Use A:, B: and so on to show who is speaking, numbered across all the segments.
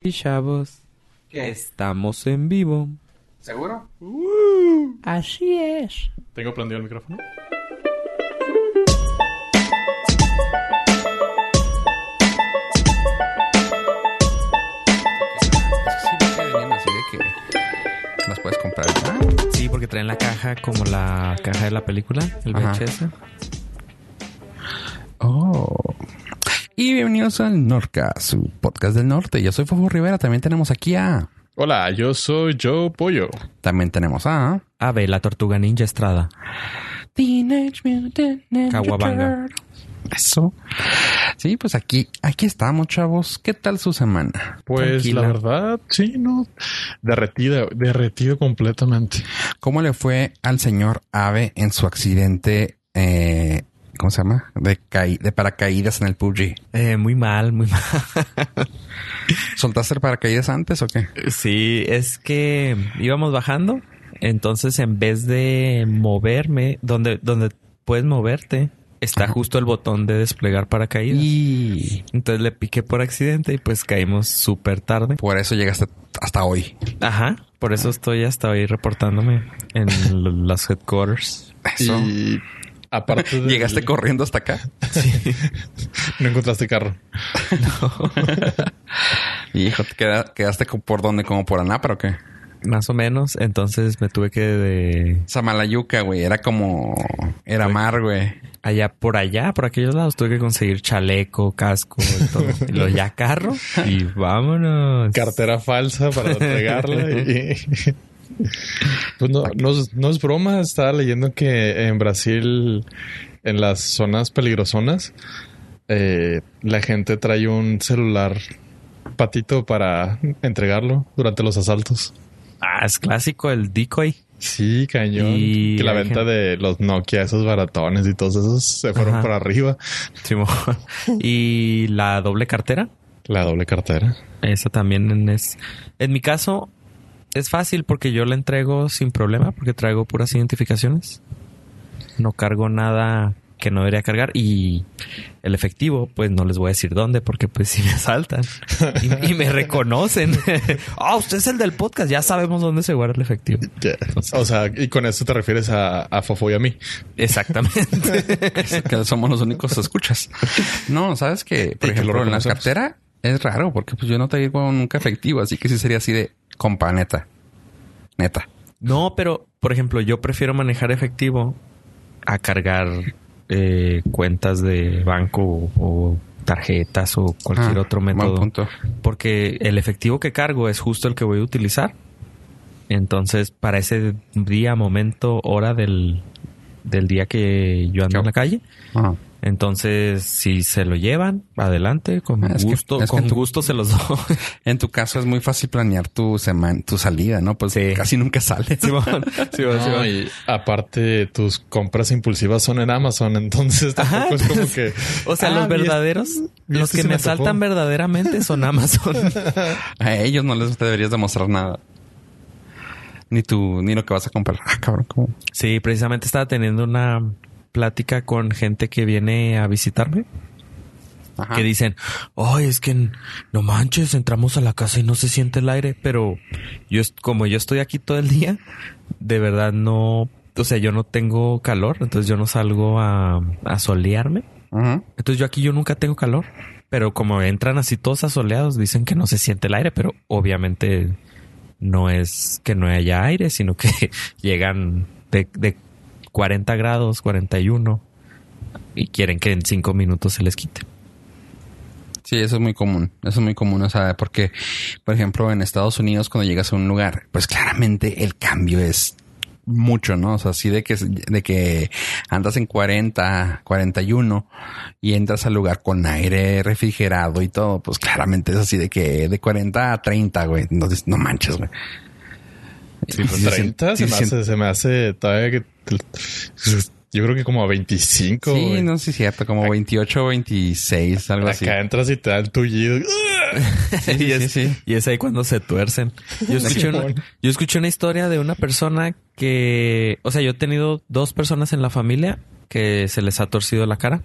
A: y chavos,
B: ¿Qué?
A: estamos en vivo.
B: ¿Seguro?
A: Así es.
C: Tengo prendido el micrófono.
D: Eso sí, que venían así de que las puedes comprar. ¿no?
A: Sí, porque traen la caja como la caja de la película, el
D: Ajá.
A: VHS.
D: Oh. Y bienvenidos al Norca, su podcast del norte. Yo soy Fofo Rivera. También tenemos aquí a.
C: Hola, yo soy Joe Pollo.
D: También tenemos a.
A: Ave, Ah, la tortuga ninja Estrada.
D: Teenage Mutant Ninja
A: Caguabanga.
D: Turtles. Eso. Sí, pues aquí, aquí estamos, chavos. ¿Qué tal su semana?
C: Pues
D: Tranquila.
C: la verdad, sí, no. Derretida, derretido completamente.
D: ¿Cómo le fue al señor Ave en su accidente? eh, ¿Cómo se llama? De, caí- de paracaídas en el PUBG.
A: Eh, muy mal, muy mal.
D: ¿Soltaste el paracaídas antes o qué?
A: Eh, Sí, es que íbamos bajando, entonces en vez de moverme, donde, donde puedes moverte, está
D: Ajá.
A: justo el botón de desplegar paracaídas.
D: Y
A: Entonces le piqué por accidente y pues caímos súper tarde.
D: por eso llegaste hasta hoy.
A: Ajá, por eso estoy hasta ahí reportándome en l- las headquarters.
D: Eso.
C: Y aparte de.
D: Llegaste corriendo hasta acá.
C: No encontraste carro.
D: Hijo, ¿te queda- quedaste co- por dónde? ¿Como por Anapra o qué?
A: Más o menos, entonces me tuve que de
D: Samalayuca, güey. Era como... Era mar, güey.
A: allá por allá, por aquellos lados, tuve que conseguir chaleco, casco y todo. Y luego ya carro y vámonos.
C: Cartera falsa para entregarla. y- Pues no, no es- no es broma. Estaba leyendo que en Brasil, en las zonas peligrosonas, eh, la gente trae un celular patito para entregarlo durante los asaltos.
A: Ah, es clásico el decoy.
C: Sí, cañón.
A: Y
C: que la
A: hay
C: venta
A: gente-
C: de los Nokia, esos baratones y todos esos se fueron
A: Ajá.
C: para arriba.
A: Simón. y la doble cartera.
C: La doble cartera.
A: Esa también es. En mi caso, es fácil porque yo la entrego sin problema, porque traigo puras identificaciones. No cargo nada que no debería cargar y el efectivo, pues no les voy a decir dónde, porque pues si me asaltan y, y me reconocen. Ah, usted es el del podcast, ya sabemos dónde se guarda el efectivo.
C: O sea, y con eso te refieres a, a Fofo y a mí.
A: Exactamente.
D: Es que somos los únicos escuchas. No, ¿sabes que Por
C: Y que lo
D: ejemplo, en la
C: reconocemos.
D: cartera es raro porque pues yo no te digo nunca efectivo. Así que sí sería así de compa, neta. Neta.
A: No, pero por ejemplo, yo prefiero manejar efectivo a cargar eh, cuentas de banco o, o tarjetas o cualquier
D: Ah,
A: otro
D: buen
A: método.
D: punto.
A: Porque el efectivo que cargo es justo el que voy a utilizar. Entonces, para ese día, momento, hora del, del día que yo ando
D: Chao.
A: en la calle.
D: Ah.
A: Entonces, si se lo llevan, adelante, con
D: Ah, es que-
A: gusto,
D: es que
A: con
D: tú-
A: gusto se los doy.
D: En tu caso es muy fácil planear tu semana, tu salida, ¿no? Pues
A: Sí.
D: casi nunca sales.
A: Simón, Simón, Simón.
C: No, y aparte, tus compras impulsivas son en Amazon, entonces tampoco es como que.
A: O sea,
C: Ah,
A: los
C: vi este-
A: verdaderos,
C: vi
A: los
C: este
A: que
C: se
A: me
C: antojó.
A: asaltan verdaderamente son Amazon.
D: A ellos no les deberías demostrar nada. Ni tú, ni lo que vas a comprar. Ah, cabrón, ¿cómo?
A: sí, precisamente estaba teniendo una plática con gente que viene a visitarme.
D: Ajá.
A: Que dicen, ay, es que n- no manches, entramos a la casa y no se siente el aire. Pero yo, est- como yo estoy aquí todo el día, de verdad no, o sea, yo no tengo calor, entonces yo no salgo a, a solearme.
D: Ajá.
A: Entonces yo aquí yo nunca tengo calor, pero como entran así todos asoleados, dicen que no se siente el aire, pero obviamente no es que no haya aire, sino que llegan de, de 40 grados, 41 y quieren que en cinco minutos se les quite.
D: Sí, eso es muy común. Eso es muy común. O sea, porque, por ejemplo, en Estados Unidos, cuando llegas a un lugar, pues claramente el cambio es mucho, ¿no? O sea, así de que, de que andas en 40, 41 y entras al lugar con aire refrigerado y todo, pues claramente es así de que de 40 a 30, güey. Entonces, no manches, güey.
C: Sí, pues, 30 se,
D: sí,
C: me
D: sí.
C: hace, se me hace todavía que. Yo creo que como a 25.
D: Sí,
C: güey.
D: no, sí es cierto, como 28, 26, algo
C: Acá
D: así.
C: entras y te da el tullido.
D: sí,
A: y, es,
D: sí, sí.
A: y es ahí cuando se tuercen. Yo escuché, una,
C: Simón.
A: yo escuché una historia de una persona que, o sea, yo he tenido dos personas en la familia que se les ha torcido la cara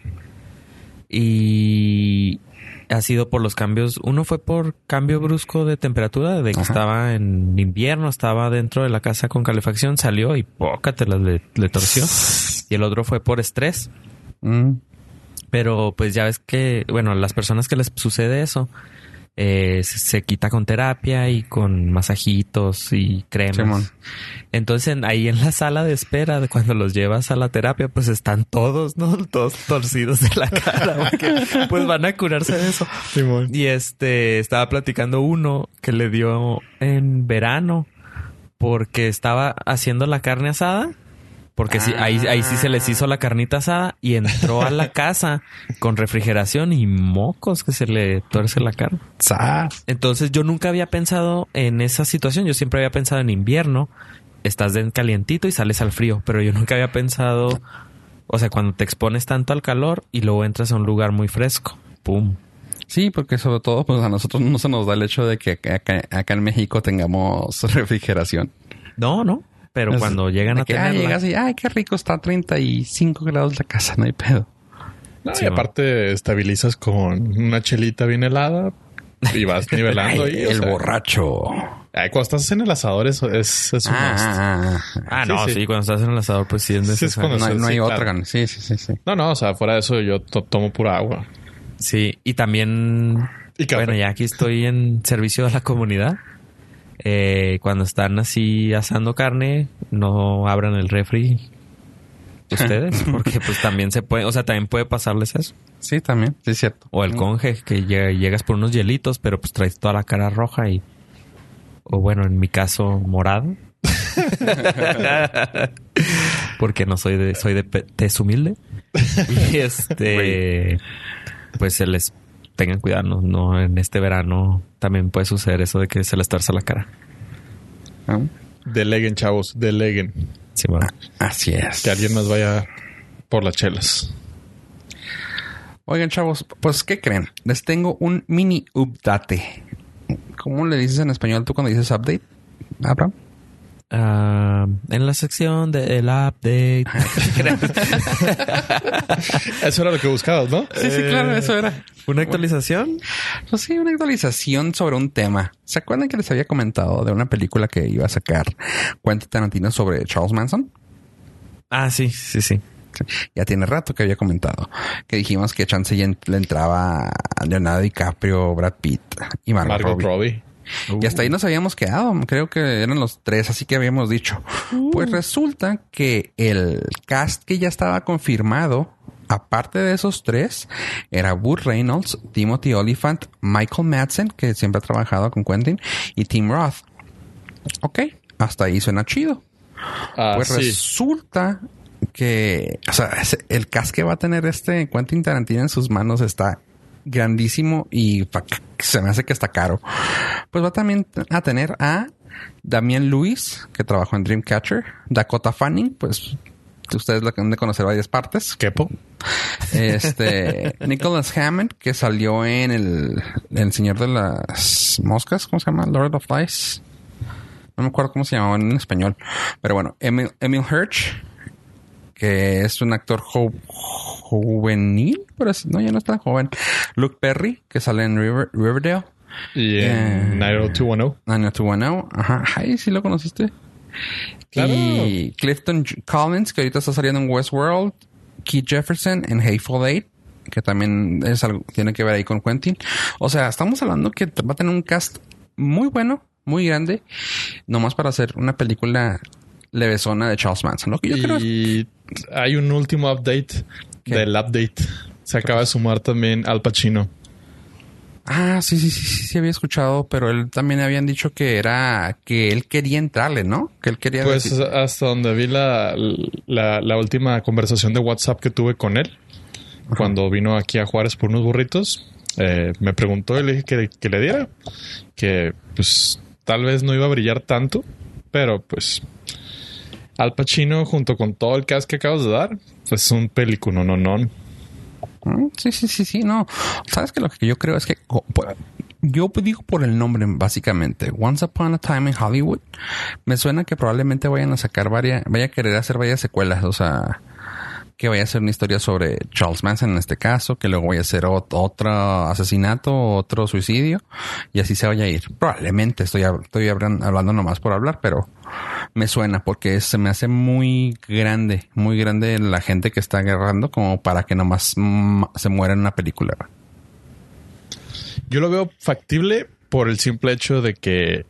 A: y ha sido por los cambios. Uno fue por cambio brusco de temperatura, de que
D: Ajá.
A: estaba en invierno, estaba dentro de la casa con calefacción, salió y pócatelas le, le torció. Y el otro fue por estrés.
D: Mm.
A: Pero pues ya ves que, bueno, las personas que les sucede eso, eh, se, se quita con terapia y con masajitos y cremas.
D: Simón.
A: Entonces en- ahí en la sala de espera, de cuando los llevas a la terapia, pues están todos, ¿no? Todos torcidos de la cara, porque, pues van a curarse de eso.
C: Simón.
A: Y este estaba platicando uno que le dio en verano porque estaba haciendo la carne asada. Porque sí, ahí, ahí sí se les hizo la carnita asada y entró a la casa con refrigeración y mocos que se le tuerce la carne.
D: Sa-
A: Entonces yo nunca había pensado en esa situación. Yo siempre había pensado en invierno. Estás en calientito y sales al frío. Pero yo nunca había pensado... O sea, cuando te expones tanto al calor y luego entras a un lugar muy fresco. ¡Pum!
D: Sí, porque sobre todo pues a nosotros no se nos da el hecho de que acá, acá- acá en México tengamos refrigeración.
A: No, no. Pero
D: Es-
A: cuando llegan
D: De
A: a
D: que, ah,
A: tenerla,
D: llegas y, ay, qué rico, está a 35 grados la casa, no hay pedo.
C: No,
A: Sí,
C: Ah, y
A: va.
C: aparte estabilizas con una chelita bien helada y vas nivelando
D: Ay,
C: ahí. o
D: el
C: sea,
D: borracho.
C: ay, cuando estás en el asador eso es, es un must.
D: Ah, ah, ah,
A: Ah,
C: Sí,
A: no, sí,
C: sí.
A: cuando estás en el asador, pues sí es
C: Sí, es
A: necesario.
D: ah.
C: cuando-
D: No, hay- no hay
C: Sí, claro.
D: otra. Gan. Sí, sí, sí, sí.
C: No, no, o sea, fuera de eso yo to- tomo pura agua.
A: Sí, y también,
C: Y café.
A: bueno, ya aquí estoy en servicio a la comunidad. Eh, cuando están así asando carne, no abran el refri ustedes, porque pues también se puede, o sea, también puede pasarles eso.
D: Sí, también. Sí, es cierto.
A: O el conge, que lle- llegas por unos hielitos, pero pues traes toda la cara roja y, o bueno, en mi caso, morado. Porque no soy de, soy de pe- tez humilde. Y este, pues se les tengan cuidado, no, no, en este verano también puede suceder eso de que se les torce la cara.
D: Ah,
C: Deleguen, chavos, deleguen.
A: Sí, bueno.
D: Así es.
C: Que alguien más vaya por las chelas.
D: Oigan, chavos, pues, ¿qué creen? Les tengo un mini update. ¿Cómo le dices en español tú cuando dices update? Abraham.
A: Ah, en la sección del update.
C: Eso era lo que buscabas, ¿no?
D: Sí, sí, claro, eso era.
A: ¿Una actualización?
D: Pues sí, una actualización sobre un tema. ¿Se acuerdan que les había comentado de una película que iba a sacar Cuenta Tarantino sobre Charles Manson?
A: Ah, sí, sí, sí.
D: Ya tiene rato que había comentado que dijimos que chance ya en- le entraba Leonardo DiCaprio, Brad Pitt y Margot,
C: Margot
D: Ah, Robbie.
C: Robbie.
D: Y hasta ahí nos habíamos quedado. Creo que eran los tres, así que habíamos dicho. Pues resulta que el cast que ya estaba confirmado, aparte de esos tres, era Wood Reynolds, Timothy Oliphant, Michael Madsen, que siempre ha trabajado con Quentin, y Tim Roth. Ok, hasta ahí suena chido.
C: Ah,
D: Pues
C: sí.
D: resulta que, o sea, ese- el cast que va a tener este Quentin Tarantino en sus manos está grandísimo y pa- se me hace que está caro. Pues va también a tener a Damián Luis, que trabajó en Dreamcatcher, Dakota Fanning, pues ustedes la han de conocer varias partes.
C: Kepo.
D: Este, Nicholas Hammond, que salió en el, El Señor de las Moscas, ¿cómo se llama? Lord of Flies. No me acuerdo cómo se llamaba en español. Pero bueno, Emil, Emil Hirsch, que es un actor jo- juvenil, pero es- no, ya no es tan joven. Luke Perry, que sale en River- Riverdale.
C: Y en
D: Eh.
C: 90210.
D: Año 210. Ajá, ay, sí lo conociste.
C: Claro.
D: Y Clifton J- Collins, que ahorita está saliendo en Westworld. Keith Jefferson en Hateful Eight, que también es algo tiene que ver ahí con Quentin. O sea, estamos hablando que t- va a tener un cast muy bueno, muy grande, nomás para hacer una película levesona de Charles Manson. Lo que yo creo es-
C: Y hay un último update
D: ¿Qué?
C: del update. Se acaba de sumar también Al Pacino.
D: Ah, sí, sí, sí, sí, sí, había escuchado, pero él también habían dicho que era que él quería entrarle, ¿no? Que él quería.
C: Pues
D: decir-
C: hasta donde vi la, la, la última conversación de WhatsApp que tuve con él, cuando vino aquí a Juárez por unos burritos, eh, me preguntó y le dije que, que le diera, que pues tal vez no iba a brillar tanto, pero pues Al Pacino junto con todo el cast que acabas de dar, pues es un película, no, no, no.
D: Mm, Sí, sí, sí, sí, no. Sabes que lo que yo creo es que co- por- yo digo por el nombre, básicamente. Once Upon a Time in Hollywood. Me suena que probablemente vayan a sacar varias, vaya a querer hacer varias secuelas. O sea, que vaya a ser una historia sobre Charles Manson en este caso, que luego vaya a ser ot- otro asesinato, otro suicidio, y así se vaya a ir. Probablemente estoy, hab- estoy hablan- hablando nomás por hablar, pero me suena porque se me hace muy grande, muy grande la gente que está agarrando como para que nomás mm, se muera en una película.
C: Yo lo veo factible por el simple hecho de que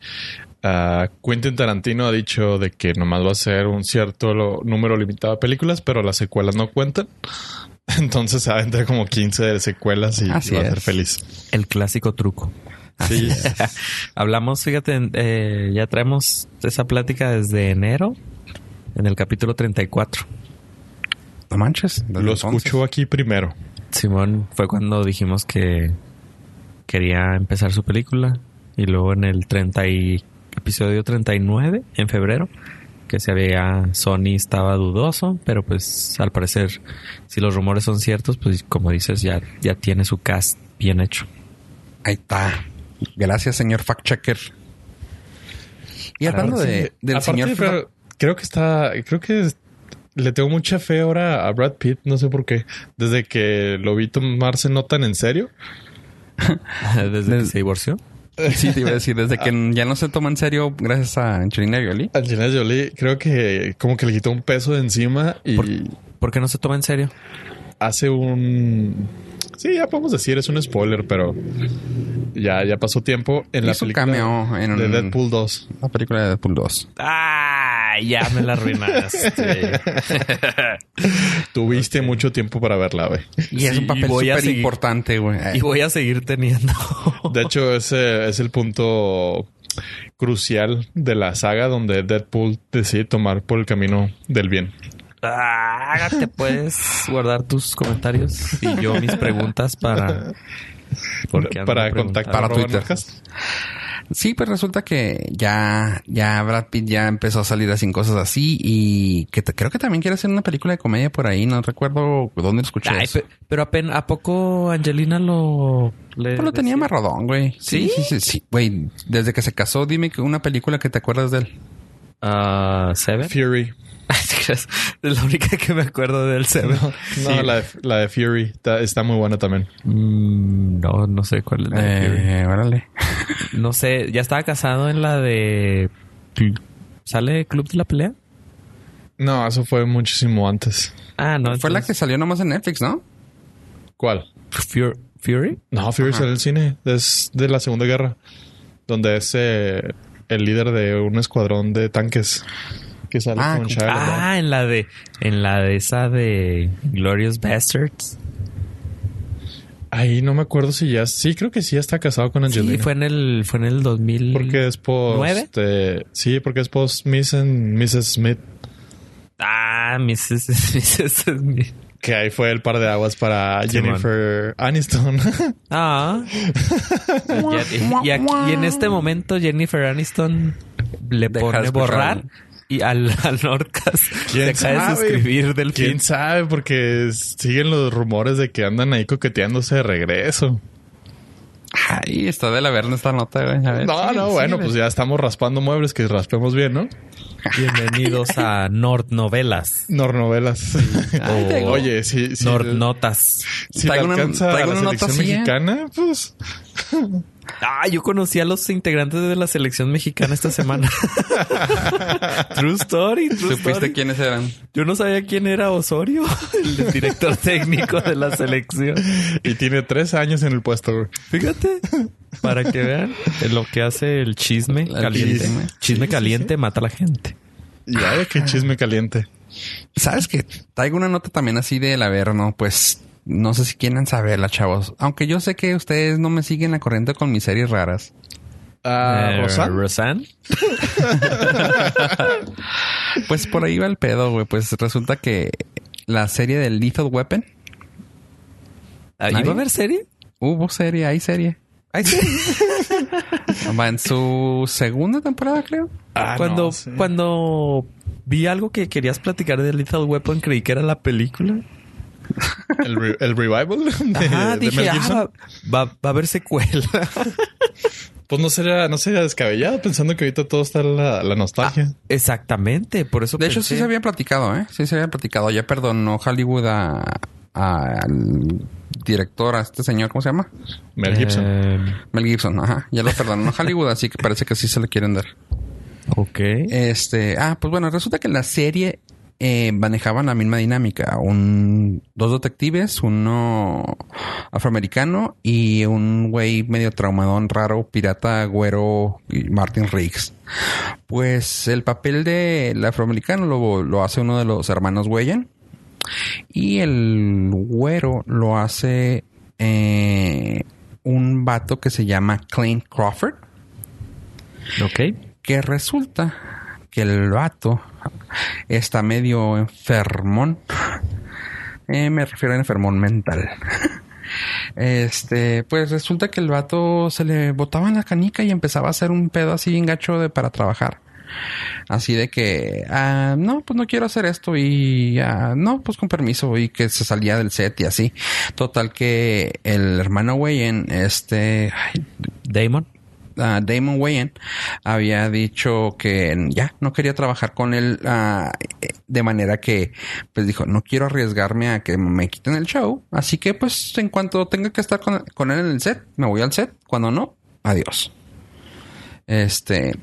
C: ah, Quentin Tarantino ha dicho de que nomás va a ser un cierto lo- número limitado de películas, pero las secuelas no cuentan. Entonces se aventa como 15 de secuelas y
D: Así
C: va a ser
D: es.
C: feliz.
A: El clásico truco.
C: Sí.
A: Hablamos, fíjate, en- eh, ya traemos esa plática desde enero en el capítulo 34.
D: No manches. desde
C: lo
D: entonces.
C: escucho aquí primero.
A: Simón fue cuando dijimos que quería empezar su película y luego en el 30 y- episodio 39 en febrero que se había Sony estaba dudoso, pero pues al parecer si los rumores son ciertos, pues como dices ya ya tiene su cast bien hecho.
D: Ahí está. Gracias, señor fact checker. Y hablando
C: Aparte-
D: de, del
C: aparte,
D: señor
C: pero creo que está, creo que es- le tengo mucha fe ahora a Brad Pitt, no sé por qué. Desde que lo vi tomarse no tan en serio.
A: Desde que se divorció.
D: Sí, te iba a decir, desde que ya no se toma en serio gracias a Angelina Jolie.
C: Angelina Jolie creo que como que le quitó un peso de encima y
A: Por- ¿Por qué no se toma en serio?
C: hace un... Sí, ya podemos decir, es un spoiler, pero ya, ya pasó tiempo en la
D: Hizo un
C: película
D: cameo en
C: de
D: un-
C: Deadpool 2.
D: La película de Deadpool 2.
A: Ah, ya me la arruinaste.
C: Tuviste mucho tiempo para verla, güey.
D: Y es
A: Sí,
D: un papel
A: voy a
D: súper
A: seguir-
D: importante, güey.
A: y voy a seguir teniendo.
C: De hecho, ese es el punto crucial de la saga donde Deadpool decide tomar por el camino del bien.
A: Ah, te puedes guardar tus comentarios y yo mis preguntas para Porque ando
C: para
A: preguntando.
C: contactar
D: Para
C: a Robert
D: Twitter.
C: Marcus.
D: Sí, pues resulta que ya, ya Brad Pitt ya empezó a salir así en cosas así y que te- creo que también quiere hacer una película de comedia por ahí. No recuerdo dónde lo escuché.
A: Ay,
D: eso.
A: pe- pero apenas a poco Angelina lo le
D: Pero Pues lo tenía
A: decía?
D: marrodón, güey.
A: ¿Sí?
D: sí, sí, sí. Güey, desde que se casó, dime que una película que te acuerdas de él.
A: Ah, Seven.
C: Fury.
A: es la única que me acuerdo del Seven.
C: No,
A: Sí.
C: la, de, la de Fury está, está muy buena también.
A: Mm, no, no sé cuál es. la de Fury.
D: Eh, órale.
A: No sé, ya estaba casado en la de sale Club de la Pelea.
C: No, eso fue muchísimo antes.
A: Ah, no.
D: Fue la que
A: entonces-
D: salió nomás en Netflix, ¿no?
C: ¿Cuál?
A: Fur- Fury.
C: No, Fury
D: Ajá.
C: salió en el cine. Es de la Segunda Guerra. Donde es eh, el líder de un escuadrón de tanques. Que sale
D: Ah,
C: con
D: con-
C: Shia LaBeouf.
A: Ah, en la de en la de esa de Glorious Bastards.
C: Ahí no me acuerdo si ya... Sí, creo que sí ya está casado con Angelina.
A: Sí, fue en el fue en el 2000.
C: Porque es post...
A: ¿Nueve?
C: eh, sí, porque es post Miss and Mrs. Smith.
A: Ah, Mrs. Mrs. Smith.
C: Que ahí fue el par de aguas para
A: Simón.
C: Jennifer Aniston.
A: Ah. y, y aquí- y en este momento Jennifer Aniston le
D: Deja de
A: pone
D: escuchar.
A: borrar y al, al Nordcast
C: ¿Quién
A: deja de
C: sabe?
A: suscribir del
C: ¿Quién
A: fin.
C: sabe? Porque siguen los rumores de que andan ahí coqueteándose de regreso.
D: Ay, está de la verga esta nota, güey. A ver,
C: No,
D: síguele,
C: no, bueno,
D: síguele.
C: pues ya estamos raspando muebles, que raspemos bien, ¿no?
A: Bienvenidos a Nord Novelas.
C: Nornovelas.
A: Oh.
D: Ay, tengo-
C: Oye, si, si,
A: Nord Notas.
C: si le
D: traigo una-
C: alcanza a
D: traigo
C: la
D: una nota
C: selección
D: así, ¿eh?
C: mexicana, pues
A: Ah, yo conocí a los integrantes de la selección mexicana esta semana. true story,
C: pues,
A: true
D: ¿Supiste
A: story.
D: quiénes eran?
A: Yo no sabía quién era Osorio, el director técnico de la selección.
C: y tiene tres años en el puesto. güey.
A: Fíjate. Para que vean lo que hace el chisme caliente.
D: chisme.
A: Chisme caliente mata a la gente.
C: Y
A: Ah.
C: ay, qué chisme caliente.
D: ¿Sabes que Traigo una nota también así del Averno, pues no sé si quieren saberla, chavos. Aunque yo sé que ustedes no me siguen la corriente con mis series raras.
C: Ah,
A: Eh,
C: Rosanne.
A: Rosanne.
D: Pues por ahí va el pedo, güey. Pues resulta que la serie de Lethal Weapon
A: Ah,
D: Nadie.
A: ¿Iba a haber serie?
D: hubo serie, hay serie. Hay serie. va en su segunda temporada, creo.
C: Ah,
A: cuando,
C: no, sí.
A: cuando vi algo que querías platicar de Lethal Weapon, creí que era la película.
C: El, re- el revival de,
A: Ajá,
C: de
A: dije,
C: Mel
A: ah,
C: Gibson.
A: va, va- va a haber secuela.
C: Pues no sería, no sería descabellado pensando que ahorita todo está la, la
A: Ah.
C: nostalgia.
A: Exactamente, por eso
D: De hecho,
A: pensé-
D: sí se había platicado, ¿eh? Sí se había platicado. Ya perdonó Hollywood a- a- al director, a este señor, ¿cómo se llama?
C: Mel Gibson.
A: Eh,
D: Mel Gibson, ajá. Ya lo perdonó a Hollywood, así que parece que sí se le quieren dar.
A: ok.
D: Este, ah, pues bueno, resulta que en la serie eh, manejaban la misma dinámica. Un, dos detectives, uno afroamericano y un güey medio traumadón, raro, pirata, güero, y Martin Riggs. Pues el papel del afroamericano lo, lo hace uno de los hermanos Weyen y el güero lo hace eh, un vato que se llama Clint Crawford
A: Ok.
D: que resulta que el vato está medio enfermón. Eh, me refiero a enfermón mental. Este, pues resulta que el vato se le botaba en la canica y empezaba a hacer un pedo así bien gacho de para trabajar. Así de que, ah, no, pues no quiero hacer esto y, ah, no, pues con permiso y que se salía del set y así. Total que el hermano Wayne, este, ay,
A: Damon.
D: ah, Damon Wayne había dicho que ya no quería trabajar con él ah, eh, de manera que pues dijo no quiero arriesgarme a que me quiten el show así que pues en cuanto tenga que estar con, con él en el set me voy al set cuando no adiós este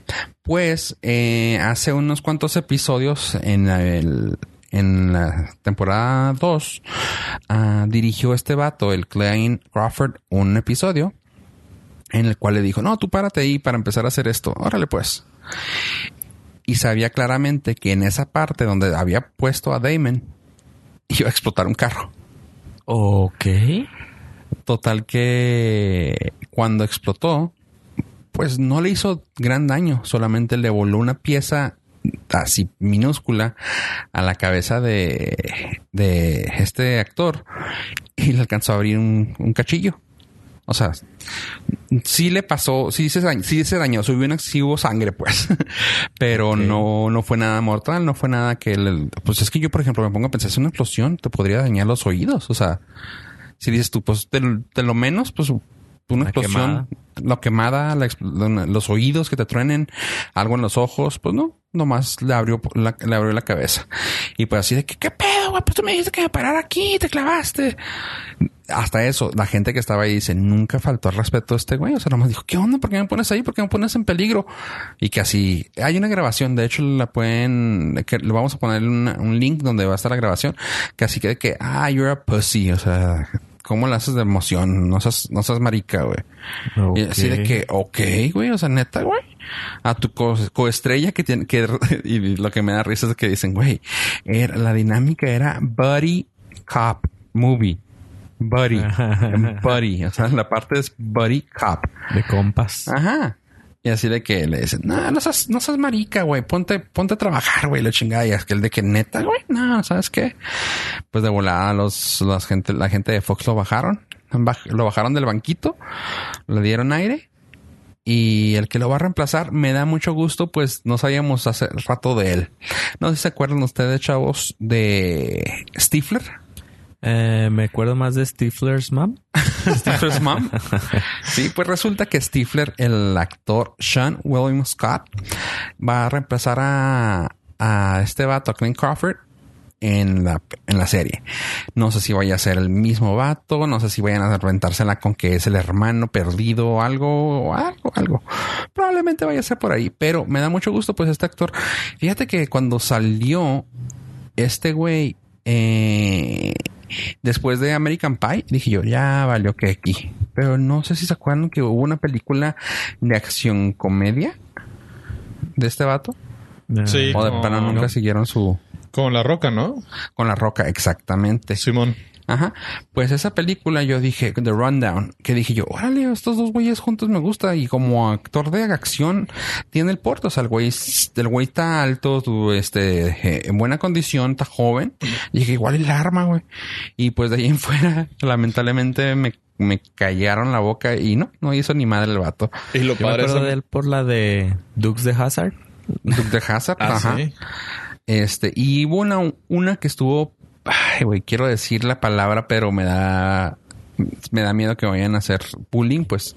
D: pues eh, hace unos cuantos episodios en la- el- en la temporada 2 dirigió este vato, el Klein Crawford, un episodio en el cual le dijo, no, tú párate ahí para empezar a hacer esto, órale pues. Y sabía claramente que en esa parte donde había puesto a Damon, iba a explotar un carro.
A: Ok.
D: Total que cuando explotó, pues no le hizo gran daño, solamente le voló una pieza así minúscula a la cabeza de, de este actor y le alcanzó a abrir un, un cachillo. O sea, sí le pasó, sí se dañó, sí se dañó, sí hubo, un- sí hubo sangre, pues, pero no, no fue nada mortal, no fue nada que, le- pues es que yo, por ejemplo, me pongo a pensar, si una explosión te podría dañar los oídos, o sea, si dices tú, pues de, de lo menos, pues una
A: La
D: explosión,
A: quemada.
D: la quemada, la expl- los oídos que te truenen, algo en los ojos, pues no, nomás le abrió la, le abrió la cabeza. Y pues así de que, ¿qué pedo, güey? Pues tú me dijiste que me parara aquí, te clavaste. Hasta eso, la gente que estaba ahí dice, nunca faltó al respeto a este güey. O sea, nomás dijo, ¿qué onda? ¿Por qué me pones ahí? ¿Por qué me pones en peligro? Y que así, hay una grabación, de hecho la pueden, que le vamos a poner una- un link donde va a estar la grabación, que así que de que, ah, you're a pussy, o sea... ¿Cómo la haces de emoción? No seas, no seas marica, güey. Y así de
A: Ok.
D: que, ok, güey, o sea, neta, güey. A tu co- coestrella que tiene que, y lo que me da risa es que dicen, güey, era- la dinámica era buddy cop movie. Buddy, buddy, o sea, la parte es buddy cop.
A: De compas.
D: Ajá. Y así de que le dicen, no, no seas, no seas marica, güey, ponte, ponte a trabajar, güey, la chingada. Y aquel de que neta, güey, no, ¿sabes qué? Pues de volada los, las gente, la gente de Fox lo bajaron, Baj- lo bajaron del banquito, le dieron aire. Y el que lo va a reemplazar me da mucho gusto, pues no sabíamos hace rato de él. No sé si se acuerdan ustedes, chavos, de Stifler.
A: Eh, me acuerdo más de Stifler's Mom.
D: Stifler's mom. Sí, pues resulta que Stifler, el actor Sean William Scott, va a reemplazar a, a este vato, a Clint Crawford, en la, en la serie. No sé si vaya a ser el mismo vato, no sé si vayan a reventársela con que es el hermano perdido o algo, o algo, algo. Probablemente vaya a ser por ahí, pero me da mucho gusto, pues, este actor. Fíjate que cuando salió este güey, eh, después de American Pie, dije yo, ya valió que aquí. Pero no sé si se acuerdan que hubo una película de acción comedia de este vato.
A: Eh,
C: Sí.
D: O de
C: No,
D: plano nunca
C: no.
D: siguieron su...
C: Con la roca, ¿no?
D: Con la roca, exactamente.
C: Simón.
D: Ajá. Pues esa película yo dije, The Rundown, que dije yo, órale, estos dos güeyes juntos me gusta. Y como actor de acción tiene el porte. O sea, el güey, es- el güey está alto, tú, este, eh, en buena condición, está joven. Y dije, igual el arma, güey. Y pues de ahí en fuera, lamentablemente me, me callaron la boca y no, no hizo ni madre el vato.
C: Y lo
A: Yo me
C: padre es.
A: acuerdo de él por la de Dukes de Hazard.
D: Duke de Hazard,
C: Ah,
D: ajá.
C: sí.
D: Este, y hubo una, una que estuvo, ay, güey, quiero decir la palabra, pero me da me da miedo que vayan a hacer bullying, pues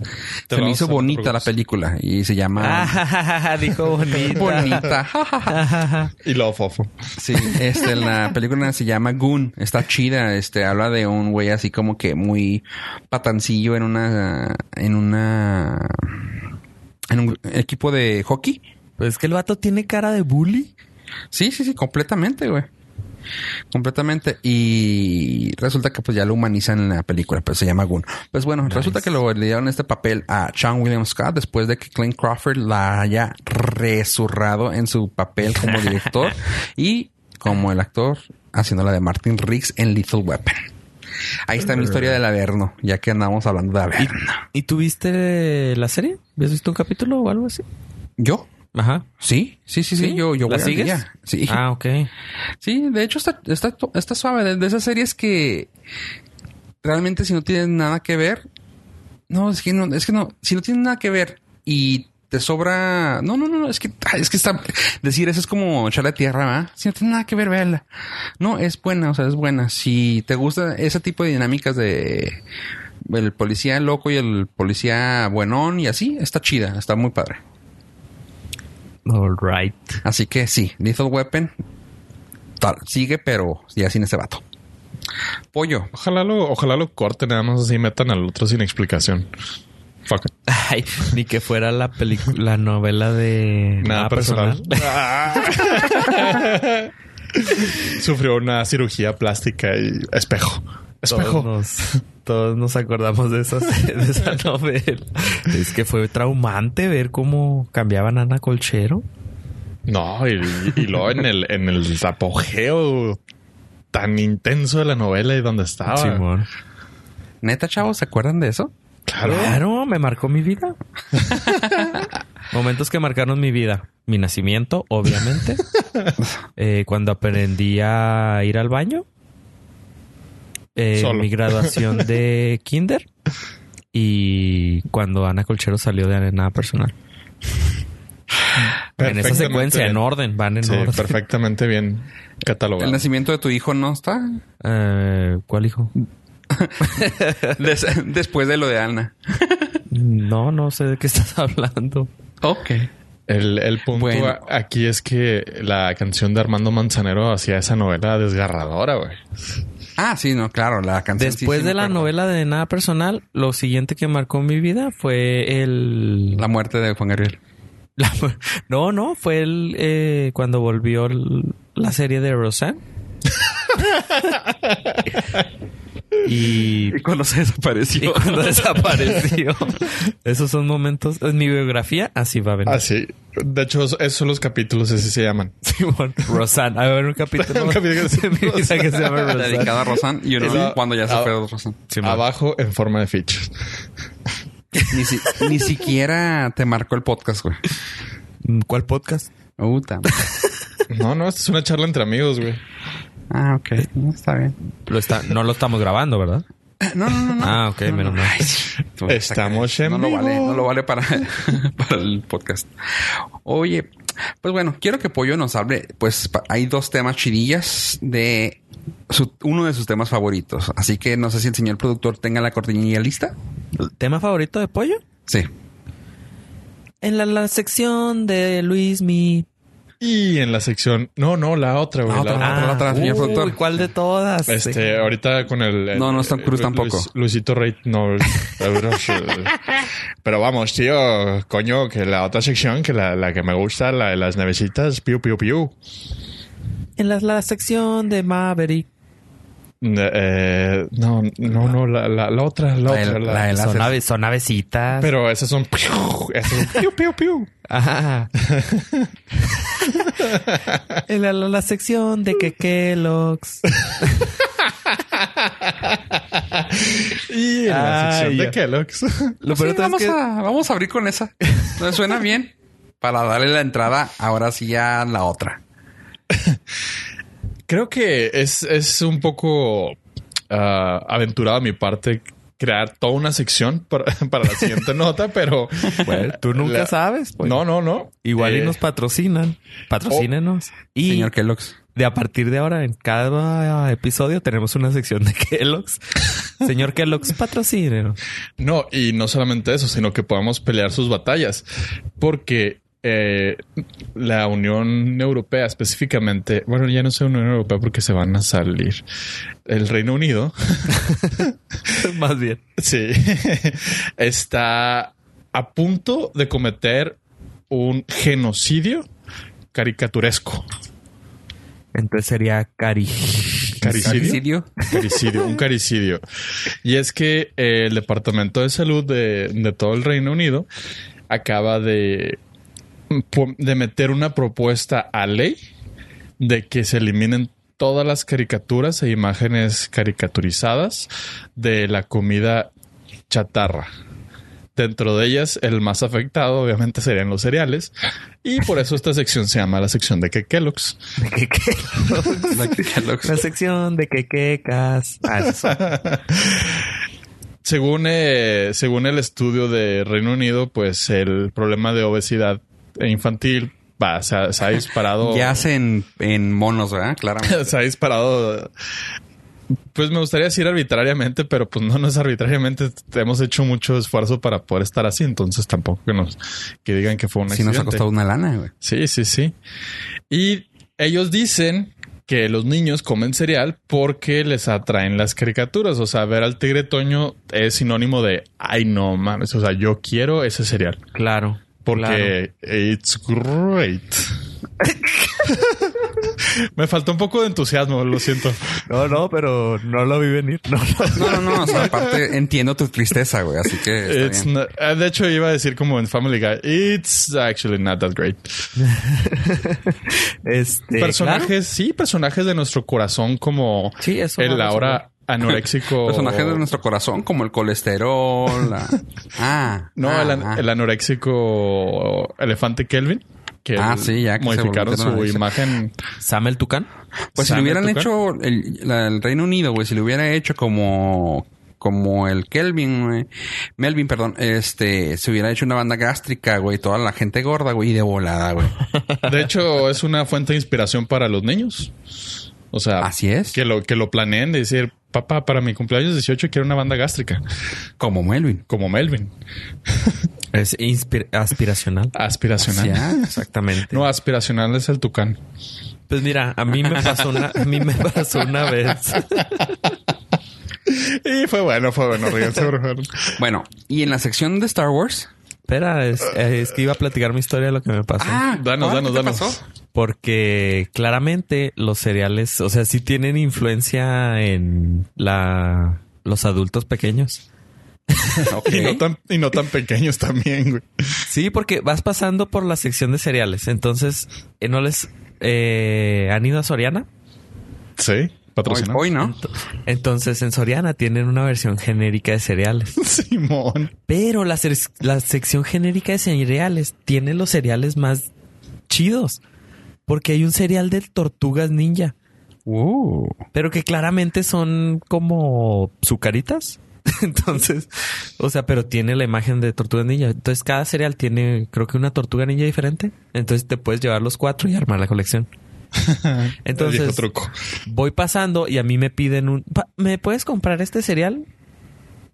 C: Te
D: se me
C: vamos a hacer,
D: hizo
C: no te
D: bonita la
C: preocupes.
D: película y se
A: Ah,
D: llama
A: Dijo bonita.
D: Ah, Bonita.
C: Y luego fofo.
D: Sí, este, la película se llama Goon. Está chida. Este, habla de un güey así como que muy patancillo en una, en una, en un equipo de hockey.
A: pues es que el vato tiene cara de bully.
D: Sí, sí, sí, completamente, güey. Completamente. Y resulta que pues ya lo humanizan en la película, pero se llama Goon. Pues bueno, resulta que lo, le dieron este papel a Sean William Scott después de que Clint Crawford la haya resurrado en su papel como director y como el actor haciendo la de Martin Riggs en Lethal Weapon. Ahí está mi historia del Averno, ya que andamos hablando de
A: ¿Y,
D: Averno.
A: y tú viste la serie? ¿Has visto un capítulo o algo así?
D: ¿Yo?
A: Ajá.
D: Sí, sí, sí, sí.
A: ¿Sí?
D: Yo, yo
A: ¿La
D: voy al
A: sigues?
D: día. Sí.
A: Ah, ok.
D: Sí, de hecho está, está, está suave. De, de esas series que realmente si no tienen nada que ver. No, es que no, es que no, si no tienen nada que ver y te sobra. No, no, no, no, es que ay, es que está. Decir eso es como echarle tierra, ¿verdad? Si no tiene nada que ver, véala. No, es buena, o sea, es buena. Si te gusta ese tipo de dinámicas de el policía loco y el policía buenón y así, está chida, está muy padre.
A: All right.
D: Así que sí, Lethal Weapon tal, sigue, pero ya sin ese vato. Pollo.
C: Ojalá lo, ojalá lo corten, nada más así metan al otro sin explicación. Fuck.
A: Ay, ni que fuera la película, la novela de
C: Nada personal. Ah. Sufrió una cirugía plástica y espejo. Espejo.
A: Todos nos, todos nos acordamos de esa, de esa novela. Es que fue traumante ver cómo cambiaban a Ana Colchero.
C: No, y, y luego en el, en el apogeo tan intenso de la novela y donde estaba.
A: Simón.
D: Neta, chavos, ¿se acuerdan de eso?
C: Claro.
A: Claro, me marcó mi vida. Momentos que marcaron mi vida. Mi nacimiento, obviamente. Eh, cuando aprendí a ir al baño. Eh,
C: Solo.
A: Mi graduación de kinder. Y cuando Ana Colchero salió de nada personal. En esa
C: Perfectamente
A: secuencia, en
C: bien.
A: orden, van en
C: Sí,
A: orden.
C: perfectamente bien
D: El
C: catalogado.
D: nacimiento de tu hijo no está
A: Eh, ¿Cuál hijo?
D: Des- después de lo de Ana.
A: No, no sé de qué estás hablando.
D: Ok.
C: El, el punto
D: Bueno.
C: a- aquí es que la canción de Armando Manzanero hacía esa novela desgarradora, güey.
D: Ah, sí, no, claro, la canción. sí,
A: Después
D: sí,
A: de
D: me
A: la
D: acuerdo.
A: novela de Nada Personal, lo siguiente que marcó mi vida fue el...
D: La muerte de Juan Gabriel.
A: la- no, no, fue el eh, cuando volvió el- la serie de Roseanne. y,
D: cuando se desapareció.
A: y cuando desapareció. Esos son momentos... En mi biografía, así va a venir.
C: Así. De hecho, esos esos son los capítulos, así se llaman.
A: Simón, Roseanne. A ver, un capítulo,
C: Un capítulo que se-
A: de mi vida que se llama Roseanne.
D: Dedicado a Rosan y uno
C: Y luego-
D: cuando ya se
C: ah.
D: fue Rosan.
A: Simón.
C: Abajo en forma de fichas.
D: Ni, si- ni siquiera te marcó el podcast, güey.
A: ¿Cuál podcast?
D: Puta.
C: No, no, esta es una charla entre amigos, güey.
D: Ah, ok. No, está bien.
A: Lo está, no lo estamos grabando, ¿verdad?
D: No, no, no. no.
A: Ah, ok,
D: No,
A: menos
D: no.
A: mal.
D: Ay, sí. Tú,
C: Estamos
D: saca-
C: en
D: no
C: vivo.
D: Lo vale, no lo vale para, para el podcast. Oye, pues bueno, quiero que Pollo nos hable. Pues pa- hay dos temas chidillas de su- uno de sus temas favoritos. Así que no sé si el señor productor tenga la cortinilla lista.
A: ¿Tema favorito de pollo?
D: Sí.
A: En la, la sección de Luis Mi.
C: Y en la sección. No, no, la otra, güey.
D: La
C: la
D: otra,
C: otra.
D: la otra, señor productor.
A: Ah, ¿Cuál de todas?
C: Este, ahorita con el. el- eh,
D: No, no es Tom Cruise
C: Luis-
D: tampoco.
C: Luisito Rey, no. Pero vamos, tío, coño, que la otra sección, que la, la que me gusta, la de las nevecitas, piu, piu, piu.
A: En la, la sección de Maverick.
C: Eh, no, no, no, la, la, la otra, la
D: La del-
C: otra. pues, la-
D: la del- El
A: Son,
D: haces-
A: ave- son avecitas.
C: Pero esas son. piu, esas son piu, piu, piu.
A: Ajá. en la, la, la sección de que Kellogg's.
C: Y en la
A: Ah,
C: sección
A: ya.
C: de Kellogg's.
A: Lo
D: Sí,
A: peor de todo es
D: vamos,
A: que-
D: a, vamos a abrir con esa. ¿No suena bien? Para darle la entrada, ahora sí a la otra.
C: Creo que es, es un poco ah, aventurado a mi parte crear toda una sección para, para la siguiente nota, pero
A: Bueno, tú nunca
C: La-
A: sabes. pues.
C: no, no, no.
A: Igual
C: Eh,
A: y nos patrocinan. Patrocínenos. y
D: Señor Kellogg's.
A: de a partir de ahora, en cada episodio tenemos una sección de Kellogg's. Señor Kellogg's, patrocínenos.
C: No, y no solamente eso, sino que podamos pelear sus batallas. Porque eh, la Unión Europea específicamente, bueno, ya no sé Unión Europea porque se van a salir. El Reino Unido,
A: Más bien.
C: sí, está a punto de cometer un genocidio caricaturesco.
A: Entonces sería Cari.
C: Caricidio.
D: ¿Suicidio?
C: Caricidio, un caricidio. Y es que eh, el Departamento de Salud de, de todo el Reino Unido acaba de, de meter una propuesta a ley de que se eliminen todas las caricaturas e imágenes caricaturizadas de la comida chatarra. Dentro de ellas, el más afectado obviamente serían los cereales. Y por eso esta sección se llama la sección de que Kellogg's.
A: De que Kellogg's.
D: La Kellogg's.
A: La sección de quequecas. Ah, eso son.
C: Según, eh, según el estudio de Reino Unido, pues el problema de obesidad infantil va, se, ha, se ha
A: Pues,
C: disparado.
D: Ya hacen en monos, ¿verdad? Claramente.
C: se ha disparado. Pues me gustaría decir arbitrariamente, pero pues no, no es arbitrariamente. Hemos hecho mucho esfuerzo para poder estar así, entonces tampoco que nos que digan que fue un
D: Si
C: accidente.
D: nos ha costado una lana, güey.
C: Sí, sí, sí. Y ellos dicen que los niños comen cereal porque les atraen las caricaturas. O sea, ver al tigre Toño es sinónimo de, ay, no mames, o sea, yo quiero ese cereal.
A: Claro.
C: Porque it's great. Me faltó un poco de entusiasmo, lo siento.
A: claro. No, no, pero no lo vi venir. No, no.
D: No, no, no. O sea, aparte entiendo tu tristeza, güey. Así que está
C: It's
D: bien.
C: not- ah, de hecho, iba a decir como en Family Guy, it's actually not that great.
A: Este,
C: personajes,
A: claro.
C: sí, personajes de nuestro corazón como
A: Sí, eso
C: el
A: vamos a
C: ahora
A: hablar.
C: anoréxico.
D: Personajes de nuestro corazón, como el colesterol. la- Ah.
C: No,
D: ah,
C: el, an-
D: ah.
C: el anoréxico elefante Kelvin. Que
D: Ah, sí, ya que se
C: modificaron
D: volvió
C: su
D: anoréxico.
C: imagen.
A: Sam el Tucán.
D: Pues si
C: ¿Sabe
D: lo hubieran
C: tocar?
D: hecho el, la- el Reino Unido, güey, si lo hubiera hecho como como el Kelvin, güey, Melvin, perdón, este, se hubiera hecho una banda gástrica, güey, toda la gente gorda, güey, y de volada, güey.
C: De hecho, es una fuente de inspiración para los niños. O sea,
D: Así es.
C: que lo, que lo planeen de decir, papá, para mi cumpleaños 18 quiero una banda gástrica,
D: Como Melvin.
C: como Melvin,
A: Es inspir- aspiracional.
C: aspiracional.
D: Ya.
A: Exactamente.
C: No, aspiracional es el tucán.
A: Pues mira, a mí me pasó una, a mí me pasó una vez.
C: Y fue bueno, fue bueno, ríganse, por favor.
D: Bueno, y en la sección de Star Wars.
A: Espera, es, es que iba a platicar mi historia de lo que me pasó.
C: Ah, Danos, danos,
D: ¿ahora Ah, qué te
C: danos.
D: pasó?
A: Porque claramente los cereales, o sea, sí tienen influencia en la los adultos pequeños.
D: Ok.
C: Y no tan, y no tan pequeños también, güey.
A: Sí, porque vas pasando por la sección de cereales. Entonces, eh, ¿no les eh, han ido a Soriana?
C: Sí,
D: Hoy,
C: patrocinado.
D: hoy no.
A: Entonces, en Soriana tienen una versión genérica de cereales.
C: Simón.
A: Pero la, cer- la sección genérica de cereales tiene los cereales más chidos. Porque hay un cereal de tortugas ninja.
D: Uh.
A: Pero que claramente son como sucaritas. Entonces, o sea, pero tiene la imagen de tortuga ninja. Entonces, cada cereal tiene, creo que una tortuga ninja diferente. Entonces, te puedes llevar los cuatro y armar la colección. Entonces-
C: El viejo truco.
A: Voy pasando y a mí me piden un. "Pa- ¿Me puedes comprar este cereal?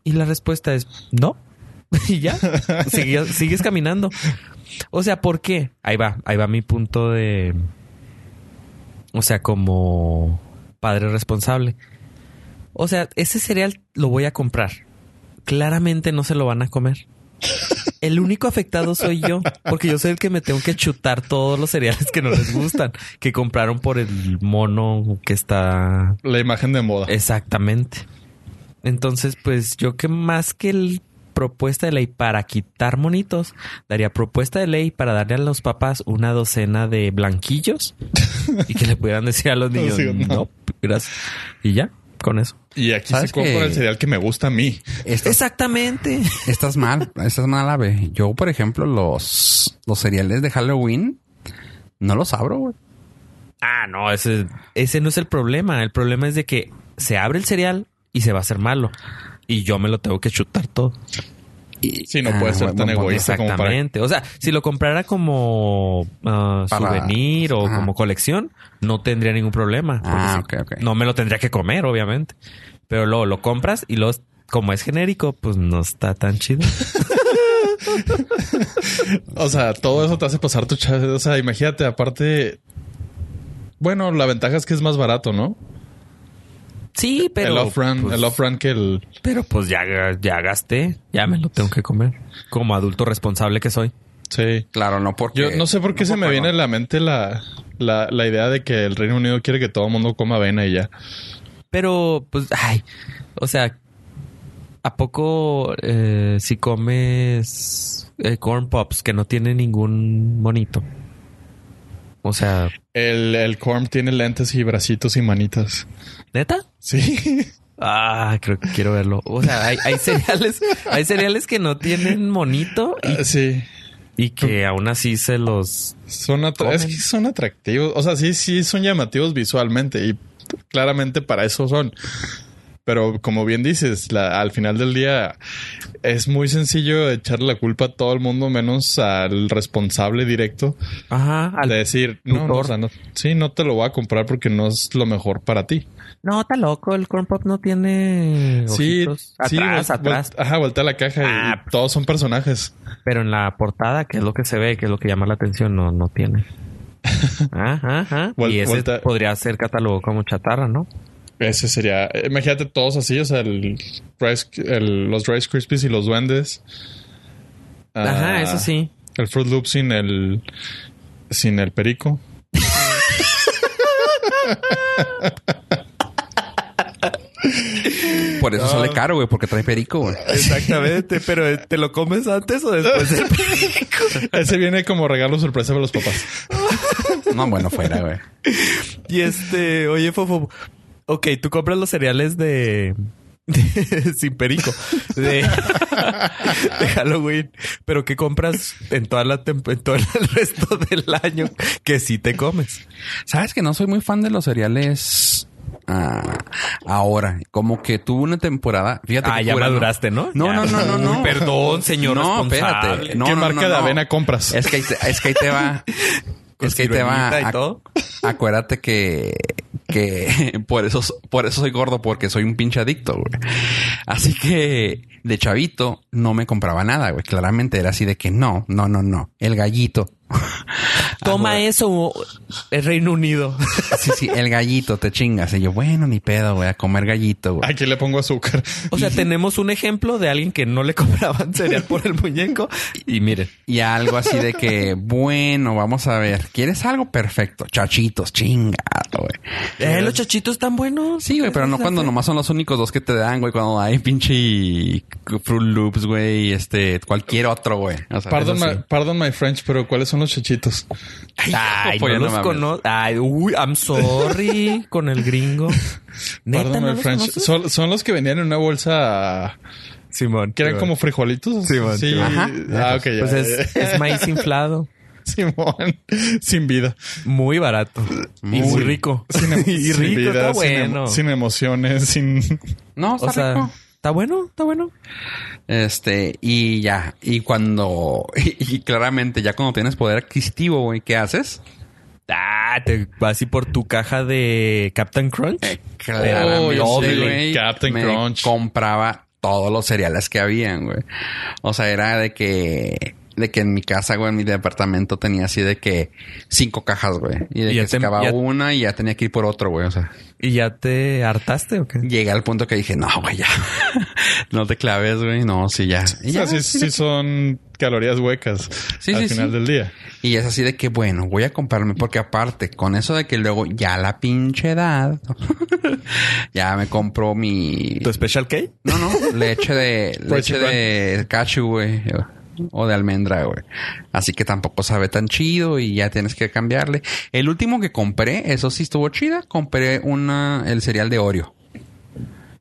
A: Y la respuesta es no. y ya. Sigue- sigues caminando. O sea, ¿por qué? Ahí va, ahí va mi punto de. O sea, como padre responsable. O sea, ese cereal lo voy a comprar. Claramente no se lo van a comer. El único afectado soy yo, porque yo soy el que me tengo que chutar todos los cereales que no les gustan, que compraron por el mono que está
C: La imagen de moda.
A: Exactamente. Entonces, pues yo que más que el propuesta de ley para quitar monitos, daría propuesta de ley para darle a los papás una docena de blanquillos y que le pudieran decir a los niños,
C: Sí, no.
A: no, gracias. Y ya, con eso.
C: Y aquí se
D: ¿Sabes
C: compra
D: qué?
C: el cereal que me gusta a mí.
D: Estás,
A: Exactamente.
D: estás mal, estás mal, ave. Yo, por ejemplo, los, los cereales de Halloween no los abro, güey.
A: Ah, no, ese, ese no es el problema. El problema es de que se abre el cereal y se va a hacer malo. Y yo me lo tengo que chutar todo.
D: Y-
C: Sí, no
D: Ah,
C: puede ser
D: buen-
C: tan
D: buen punto.
C: egoísta como para
A: Exactamente. O sea, si lo comprara como ah,
D: Para-
A: souvenir o
D: Ajá.
A: como colección, no tendría ningún problema. porque
D: Ah,
A: sí-
D: ok, ok.
A: No me lo tendría que comer, obviamente. Pero luego lo compras y luego, como es genérico, pues no está tan chido.
C: O sea, todo eso te hace pasar tu chave. O sea, imagínate, aparte. Bueno, la ventaja es que es más barato, ¿no?
A: Sí, pero.
C: el off-run,
A: pues,
C: el off-run que el.
A: Pero pues ya, ya gasté, ya me lo tengo que comer. Como adulto responsable que soy.
C: Sí.
D: Claro, eh, no porque...
C: Yo no sé por qué se me
D: perdón.
C: viene a la mente la, la, la idea de que el Reino Unido quiere que todo el mundo coma avena y ya.
A: Pero, pues, ay, o sea, ¿a poco eh, si comes eh, corn pops que no tiene ningún monito? O sea,
C: El, el corn tiene lentes y bracitos y manitas.
A: ¿neta?
C: Sí.
A: Ah, creo que quiero verlo. O sea, hay, hay cereales, hay cereales que no tienen monito
C: Ah, sí.
A: y, y que aún así se los
C: Son, atra-
A: Comen.
C: es que son atractivos. O sea, sí, sí, son llamativos visualmente y claramente para eso son. Pero como bien dices, la- al final del día es muy sencillo echarle la culpa a todo el mundo menos al responsable directo
A: ajá al
C: de decir, no, no,
A: tutor.
C: o sea, no- sí, no te lo voy a comprar porque no es lo mejor para ti.
A: No, está loco, el corn pop no tiene
C: Sí,
A: ojitos.
C: sí,
A: atrás,
C: vol-
A: atrás,
C: vol- ajá, voltea la caja y-
A: Ah.
C: y todos son personajes.
A: pero en la portada, que es lo que se ve, que es lo que llama la atención, no no tiene. Ajá, ajá.
C: Vol-
A: y ese
C: volta-
A: podría ser catalogado como chatarra, ¿no?
C: Ese sería, eh, imagínate todos así, o sea, el Rice- el- los Rice Krispies y los duendes. Ah,
A: Ajá, eso sí.
C: El Fruit Loop sin el sin el perico.
D: Por eso
C: Ah.
D: sale caro, güey, porque trae perico, güey.
A: Exactamente, pero eh, ¿te lo comes antes o después?
C: Ese viene como regalo sorpresa para los papás.
D: No, bueno, fuera, güey.
A: y este, oye, Fofo, ok, tú compras los cereales de... sin perico de, de Halloween pero que compras en toda la temp- en todo el resto del año que sí te comes
D: Sabes que no soy muy fan de los cereales ah, ahora. Como que tuve una temporada. Fíjate.
A: Ah,
D: qué
A: ya
D: cura,
A: maduraste, ¿no?
D: No,
A: Ya.
D: no, no, no, no.
A: Uy, perdón, señor
D: No,
A: responsable.
D: espérate. No,
C: ¿Qué
D: no,
C: marca
D: no,
C: de
D: no.
C: avena compras?
D: Es que, ahí te- es que ahí te va. es que ahí te va.
A: siruelita y
D: Ac-
A: todo.
D: Acuérdate que, que por eso, por eso soy gordo, porque soy un pinche adicto, güey. Así que de chavito no me compraba nada, güey. Claramente era así de que no, no, no, no. El gallito.
A: Toma
D: güey.
A: eso, el Reino Unido.
D: Sí, sí, el gallito, te chingas. Y yo, bueno, ni pedo, güey, a comer gallito, güey.
C: Aquí le pongo azúcar.
A: O sea, tenemos un ejemplo de alguien que no le compraban cereal por el muñeco. Y miren,
D: Y algo así de que, bueno, vamos a ver, ¿quieres algo perfecto? Chachitos, chingado, güey.
A: eh, los chachitos están buenos.
D: Sí, güey, pero no cuando nomás son los únicos dos que te dan, güey, cuando hay pinche Fruit Loops, güey, este, cualquier otro, güey. O sea,
C: Pardon
D: eso
C: my,
D: sí.
C: perdón my French, pero ¿cuáles son los chachitos?
A: Ay,
D: Pues
A: no
D: ya no
A: los
D: mames.
A: conozco. Ay, uy, I'm sorry con el gringo. ¿Neta
C: Pardon
A: no
C: my
A: los
C: French.
A: conoces?
C: Son, son los que venían en una bolsa
A: Simón.
C: que eran como frijolitos.
A: Sí, man, sí,
C: sí.
D: man. Ajá.
C: Ah, ok, ya,
A: Pues
C: ya,
A: es,
C: ya.
A: es maíz inflado.
C: Simón, sin vida.
A: Muy barato. y muy
D: Muy-
A: rico.
C: Sin em-
A: y
C: sin
A: rico, está
C: vida, sin em-
A: bueno.
C: sin emociones, sin.
D: No, está
A: o sea,
D: rico.
A: está bueno, está bueno.
D: Este, y ya, y cuando, y, y claramente ya cuando tienes poder adquisitivo, güey, ¿qué haces?
A: Ah, te vas y por tu caja de Captain Crunch.
D: Claramente,
C: Oh, yo sí,
D: güey,
C: Captain
D: me
C: Crunch.
D: compraba todos los cereales que habían, güey. O sea, era de que de que en mi casa, güey, en mi departamento tenía así de que cinco cajas, güey. Y de
A: Y ya
D: que
A: te-
D: sacaba
A: ya-
D: una y ya tenía que ir por otro, güey. O sea,
A: ¿Y ya te hartaste o qué?
D: llegué al punto que dije, no, güey, ya. no te claves, güey. No, sí, ya. Y,
C: O sea,
D: ya,
C: sí,
D: sí,
C: sí son calorías huecas
D: Sí,
C: al
D: sí,
C: final
D: sí.
C: del día.
D: y es así de que, bueno, voy a comprarme. Porque aparte, con eso de que luego ya la pinche edad, ya me compro mi...
A: ¿Tu special cake?
D: No, no, leche de
C: Pues
D: leche
C: igual.
D: de cashew, güey, o de almendra, güey. Así que tampoco sabe tan chido y ya tienes que cambiarle. El último que compré, eso sí estuvo chida, compré una el cereal de Oreo.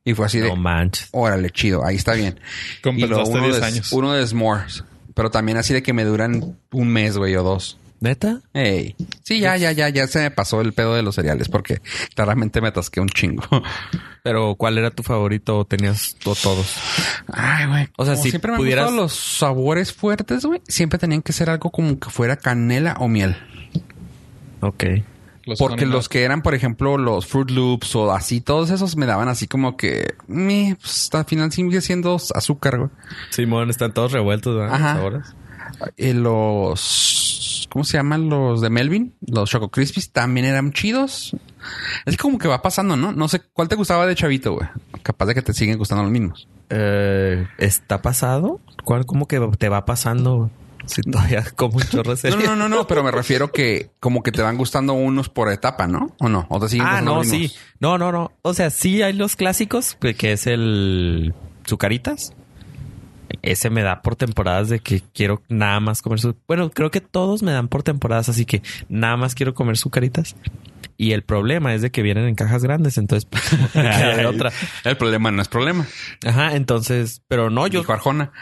D: Y fue así de,
A: No manches.
D: órale, chido, ahí está bien. Y luego
C: Compensaste
D: uno
C: 10
D: de-
C: años.
D: Uno de S'mores, pero también así de que me duran un mes, güey, o dos.
A: ¿Neta?
D: Ey. Sí, ya, ya, ya, ya se me pasó el pedo de los cereales porque claramente me atasqué un chingo.
A: Pero ¿cuál era tu favorito o tenías tú todos?
D: Ay, güey.
A: O sea,
D: Como
A: si
D: siempre me
A: pudieras-
D: han gustado los sabores fuertes, güey. Siempre tenían que ser algo como que fuera canela o miel.
A: Ok.
D: Porque
C: Honey
D: los que eran, por ejemplo, los Fruit Loops o así, todos esos me daban así como que... meh, pues, al final sigue siendo azúcar, güey.
A: Simón, están todos revueltos, ¿verdad?
D: Ajá.
A: Los sabores.
D: Eh, los... ¿Cómo se llaman los de Melvin? Los Choco Crispies también eran chidos. Es que como que va pasando, ¿no? No sé, ¿cuál te gustaba de chavito, güey? Capaz de que te siguen gustando los mismos.
A: Eh, ¿Está pasado? ¿Cuál, ¿Cómo que te va pasando? Si todavía como un chorro de
D: No,
A: cereal.
D: no, no, no, pero me refiero que como que te van gustando unos por etapa, ¿no? ¿O no? ¿O te siguen
A: Ah,
D: gustando
A: no,
D: los
A: sí.
D: mismos?
A: No, no, no. O sea, sí hay los clásicos, que, que es el Zucaritas. Ese me da por temporadas de que quiero nada más comer su... Bueno, creo que todos me dan por temporadas, así que nada más quiero comer Zucaritas. Y el problema es de que vienen en cajas grandes, entonces... pues, como que queda de otra.
D: El problema no es problema.
A: Ajá, entonces... Pero no, yo...
D: Dijo Arjona.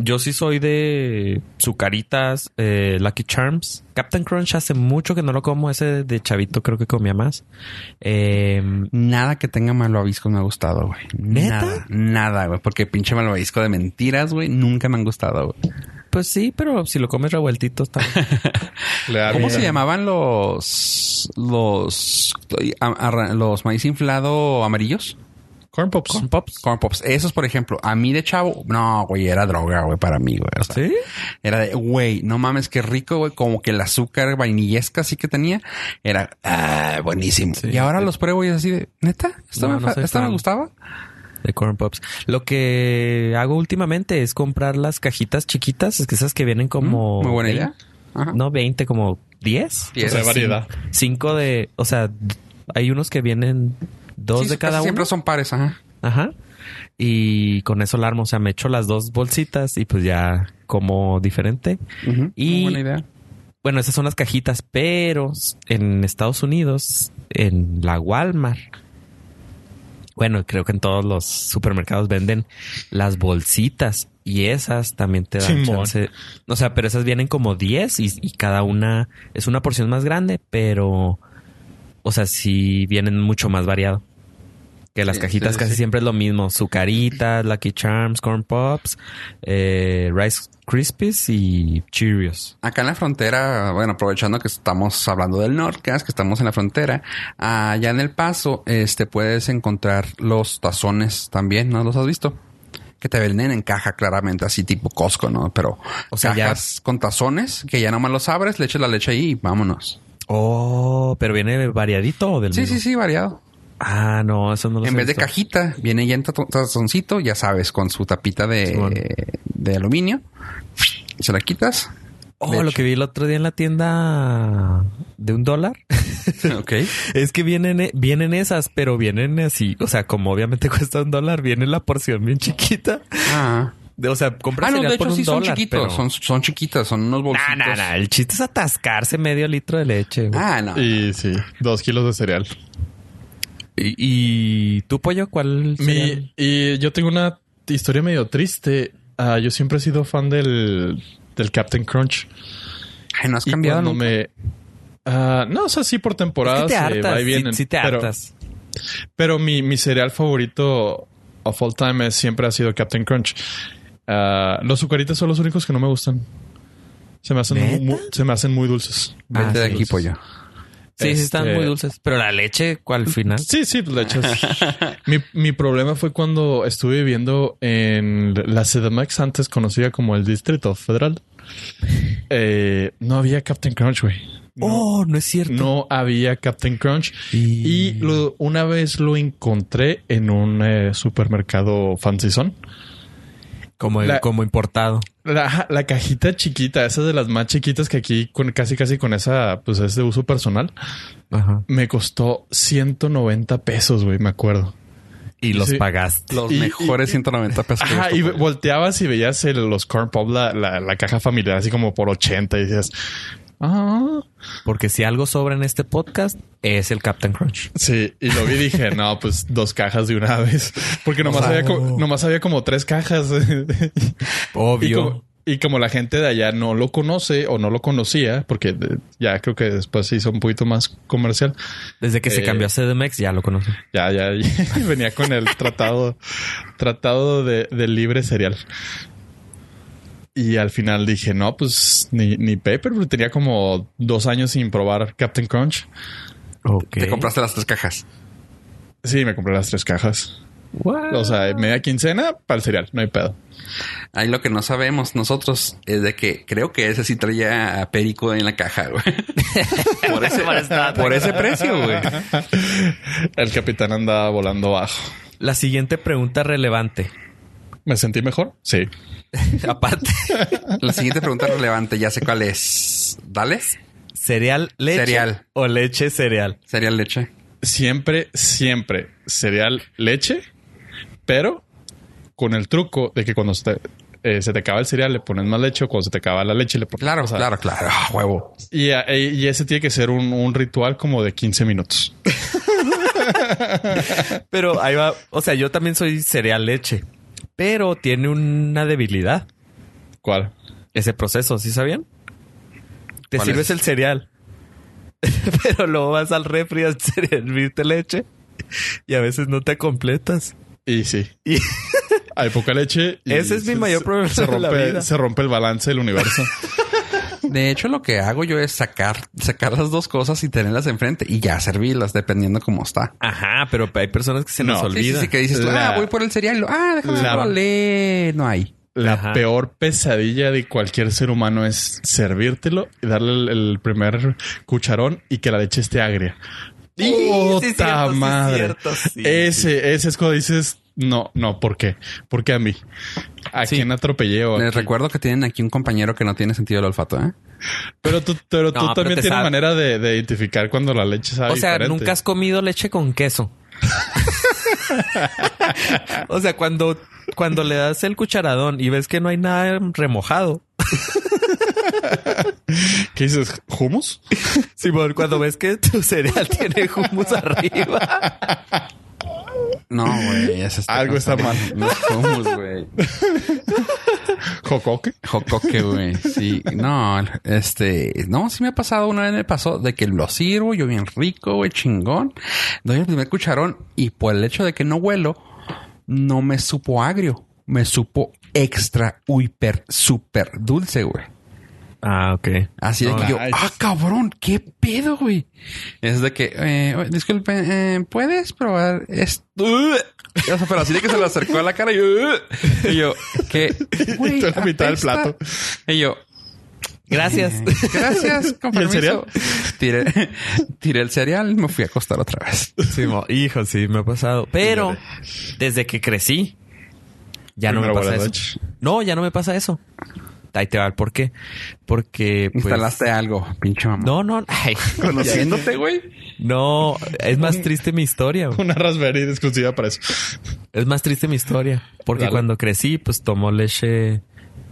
A: Yo sí soy de Zucaritas, eh, Lucky Charms. Captain Crunch hace mucho que no lo como. Ese de chavito creo que comía más. Eh,
D: Nada que tenga malvavisco me ha gustado, güey.
A: ¿Neta?
D: Nada, nada, güey. Porque pinche malvavisco de mentiras, güey, nunca me han gustado, güey.
A: pues sí, pero si lo comes revueltito está... bien.
C: Le da
D: ¿Cómo
C: vida.
D: se llamaban los los a- arra- los maíz inflado amarillos?
C: Corn Pops.
A: Corn Pops.
D: Corn pops. Esos, por ejemplo, a mí de chavo, no, güey, era droga, güey, para mí, güey. O sea,
A: ¿Sí?
D: Era de, güey, no mames, qué rico, güey. Como que el azúcar vainillesca así que tenía. Era ah, buenísimo.
A: Sí.
D: y ahora los pruebo y es así de, ¿neta? ¿Esta,
A: No,
D: me,
A: no soy
D: esta me
A: fan.
D: gustaba?
A: De Corn Pops. Lo que hago últimamente es comprar las cajitas chiquitas, es que esas que vienen como...
D: Mm, Muy buena idea. Ajá.
A: No, 20, como 10.
D: Y es-
C: De variedad.
A: 5 de... O sea, hay unos que vienen dos
D: Sí,
A: de
D: casi
A: cada uno.
D: Siempre son pares, ajá.
A: Ajá. Y con eso la armo. O sea, me echo las dos bolsitas y pues ya como diferente. Y-
D: Muy buena idea.
A: Bueno, esas son las cajitas, pero en Estados Unidos, en la Walmart. Bueno, creo que en todos los supermercados venden las bolsitas y esas también te dan
C: Simón.
A: chance. O sea, pero esas vienen como 10 y, y cada una es una porción más grande, pero o sea, sí vienen mucho más variado. Que las
D: Sí,
A: cajitas
D: sí, sí,
A: casi
D: sí.
A: siempre es lo mismo. Zucaritas, Lucky Charms, Corn Pops, eh, Rice Krispies y Cheerios.
D: Acá en la frontera, bueno, aprovechando que estamos hablando del Nordcast, que estamos en la frontera, allá en El Paso, este, puedes encontrar los tazones también, ¿no los has visto? Que te venden en caja claramente, así tipo Costco, ¿no? Pero
A: O sea, ya-
D: cajas con tazones, que ya nomás los abres, le echas la leche ahí y vámonos.
A: Oh, pero viene variadito o del
D: Sí,
A: mismo?
D: sí, sí, variado.
A: Ah, no, eso no lo
D: en vez de cajita, viene ya en tato- tazoncito, ya sabes, con su tapita de,
A: Simón.
D: de aluminio. Se la quitas.
A: Oh,
D: De
A: lo
D: hecho.
A: que vi el otro día en la tienda de un dólar
D: ok.
A: es que vienen, eh, vienen esas, pero vienen así. O sea, como obviamente cuesta un dólar, viene la porción bien chiquita.
D: Ah.
A: De- O sea, compras
D: Ah, no,
A: cereal
D: de
A: por
D: hecho
A: un
D: sí son
A: dólar,
D: chiquitos,
A: pero-
D: son, son chiquitas, son unos
A: Nah,
D: bolsitos.
A: nah, nah. El chiste es atascarse medio litro de leche. güey.
D: Ah, no.
C: Y sí, dos kilos de cereal.
A: ¿Y, y tú, pollo, cuál? cereal?
C: Mi, y yo tengo una historia medio triste. Ah, yo siempre he sido fan del, del Captain Crunch.
D: Ay, no has
C: Y
D: cambiado.
C: cuando
D: nunca.
C: me... ah, no, o sea, sí por
A: Es
C: temporadas.
A: que te
C: eh,
A: hartas.
C: va y
A: sí-
C: vienen,
A: sí, te
C: pero-
A: hartas.
C: Pero mi, mi cereal favorito of all time es- siempre ha sido Captain Crunch. Ah, los azucaritas son los únicos que no me gustan. Se me hacen,
A: ¿Neta?
C: mu- mu- se me hacen muy dulces.
A: Ah,
D: Vente de
A: sí,
D: aquí,
C: dulces.
D: pollo.
A: Sí, sí, están
C: Este-
A: muy dulces. Pero la leche, ¿cuál final?
C: Sí, sí, le echas. mi, mi problema fue cuando estuve viviendo en la CDMX, antes conocida como el Distrito Federal. Eh, no había Captain Crunch, güey. No,
A: Oh, no es cierto.
C: no había Captain Crunch. Y lo- una vez lo encontré en un eh, supermercado fancy zone.
A: Como,
C: La-
A: como importado.
C: La, ajá, la cajita chiquita, esa de las más chiquitas que aquí con, casi casi con esa, pues es de uso personal.
A: Ajá.
C: Me costó 190 pesos, güey, me acuerdo.
A: Y los
C: Sí.
A: pagaste.
D: Los
C: Y- y-
D: mejores 190 pesos. que
C: Ajá,
D: he
C: y
D: visto, pollo.
C: volteabas y veías el- los corn pop, la, la- la caja familiar, así como por 80 y decías, ah,
A: Porque si algo sobra en este podcast, es el Captain Crunch.
C: sí. Y lo vi y dije, no, pues dos cajas de una vez, porque nomás,
A: sea,
C: había, como,
A: no.
C: nomás había como tres cajas. Y
A: Obvio.
C: como- Y, Y como la gente de allá no lo conoce o no lo conocía, porque eh, ya creo que después se hizo un poquito más comercial,
A: Desde que se
C: Eh,
A: cambió a CDMX ya lo conoce.
C: ya, ya, ya venía con el tratado, tratado de, de libre cereal. Y al final dije, no, pues ni, ni paper, porque tenía como dos años sin probar Captain Crunch.
A: Ok.
D: Te compraste las tres cajas.
C: Sí, me compré las tres cajas.
A: What?
C: O sea, media quincena para el cereal, no hay pedo.
D: Ahí lo que no sabemos nosotros es de que creo que ese sí traía a Perico en la caja, güey. por, ese, por ese precio, güey.
C: El capitán andaba volando bajo.
A: La siguiente pregunta relevante.
C: ¿Me sentí mejor? Sí.
A: Aparte,
D: La siguiente pregunta relevante, ya sé cuál es. ¿Dale?
A: cereal, leche
D: Cereal.
A: o leche cereal.
D: Cereal leche.
C: Siempre, siempre cereal, leche, pero con el truco de que cuando se te, eh, se te acaba el cereal le pones más leche o cuando se te acaba la leche le pones
D: Claro,
C: o sea,
D: claro, claro. Ah, huevo.
C: Y, a- e- y ese tiene que ser un, un ritual como de 15 minutos.
A: Pero ahí va. O sea, yo también soy cereal leche, pero tiene una debilidad
C: ¿Cuál?
A: ese proceso. ¿Sí sabían? Te
D: ¿Cuál
A: sirves
D: es?
A: el cereal, pero luego vas al refri a servirte leche y a veces no te completas.
C: Y sí.
A: Y-
C: Hay poca leche. y
A: Ese es mi mayor problema
C: Se
A: en la
C: rompe,
A: vida.
C: se rompe el balance del universo.
D: De hecho, lo que hago yo es sacar, sacar las dos cosas y tenerlas enfrente y ya servirlas dependiendo cómo está.
A: Ajá, pero hay personas que se nos
C: No, sí,
D: Sí, sí,
A: olvida.
D: sí, que dices tú,
C: La-
D: ah, voy por el cereal. Ah, déjame
C: La-
D: darle. No hay.
C: La
A: Ajá.
C: peor pesadilla de cualquier ser humano es servírtelo y darle el, el primer cucharón y que la leche esté agria.
A: Sí, sí,
C: ¡Puta
A: es cierto, sí, es
C: madre!
A: cierto, sí,
C: ese, ese es cuando dices, no, no, ¿por qué? ¿Por qué a mí? ¿A quién atropellé? o a
D: Les
C: quién?
D: recuerdo que tienen aquí un compañero que no tiene sentido el olfato, ¿eh?
C: Pero tú, pero tú
A: No, pero
C: también
A: te
C: tienes
A: sabe.
C: manera de, de identificar cuando la leche sabe
A: O sea,
C: diferente.
A: nunca has comido leche con queso. o sea, cuando, cuando le das el cucharadón y ves que no hay nada remojado.
C: ¿Qué dices? ¿Humus?
A: Simón, cuando ves que tu cereal tiene hummus arriba.
D: No, güey. eso
C: Algo está mal.
D: No somos, güey.
C: ¿Jocoque?
D: Jocoque, güey. Sí. No, este. No, sí me ha pasado. Una vez me pasó de que lo sirvo, yo bien rico, güey, chingón. Doy el primer cucharón y por el hecho de que no huelo, no me supo agrio. Me supo extra, hiper, super dulce, güey.
A: Ah, ok.
D: Así de
C: No,
D: que yo,
C: nice.
D: ah, cabrón, qué pedo, güey. Es de que, eh, oye, disculpe, eh, ¿puedes probar esto? O sea, pero así de que se lo acercó a la cara y, "Ugh". Y yo, que, güey,
C: tú en la mitad del
D: apesta.
C: plato.
D: Y yo,
A: Gracias.
D: Eh, gracias, con
C: ¿Y el cereal?
D: permiso. Tiré, tiré el cereal y me fui a acostar otra vez.
A: Simón, hijo, sí, me ha pasado. Pero desde que crecí, ya no me
C: Primero
A: pasa
C: huele
A: eso.
C: a leche.
A: No, ya no me pasa eso. Ahí te va el por qué. Porque pues,
D: Instalaste algo, pinche mamá.
A: No, no, ay,
D: Conociéndote, güey.
A: no, es más triste mi historia. güey.
C: Una raspberry exclusiva para eso.
A: Es más triste mi historia. Porque
C: Dale.
A: cuando crecí, pues tomó leche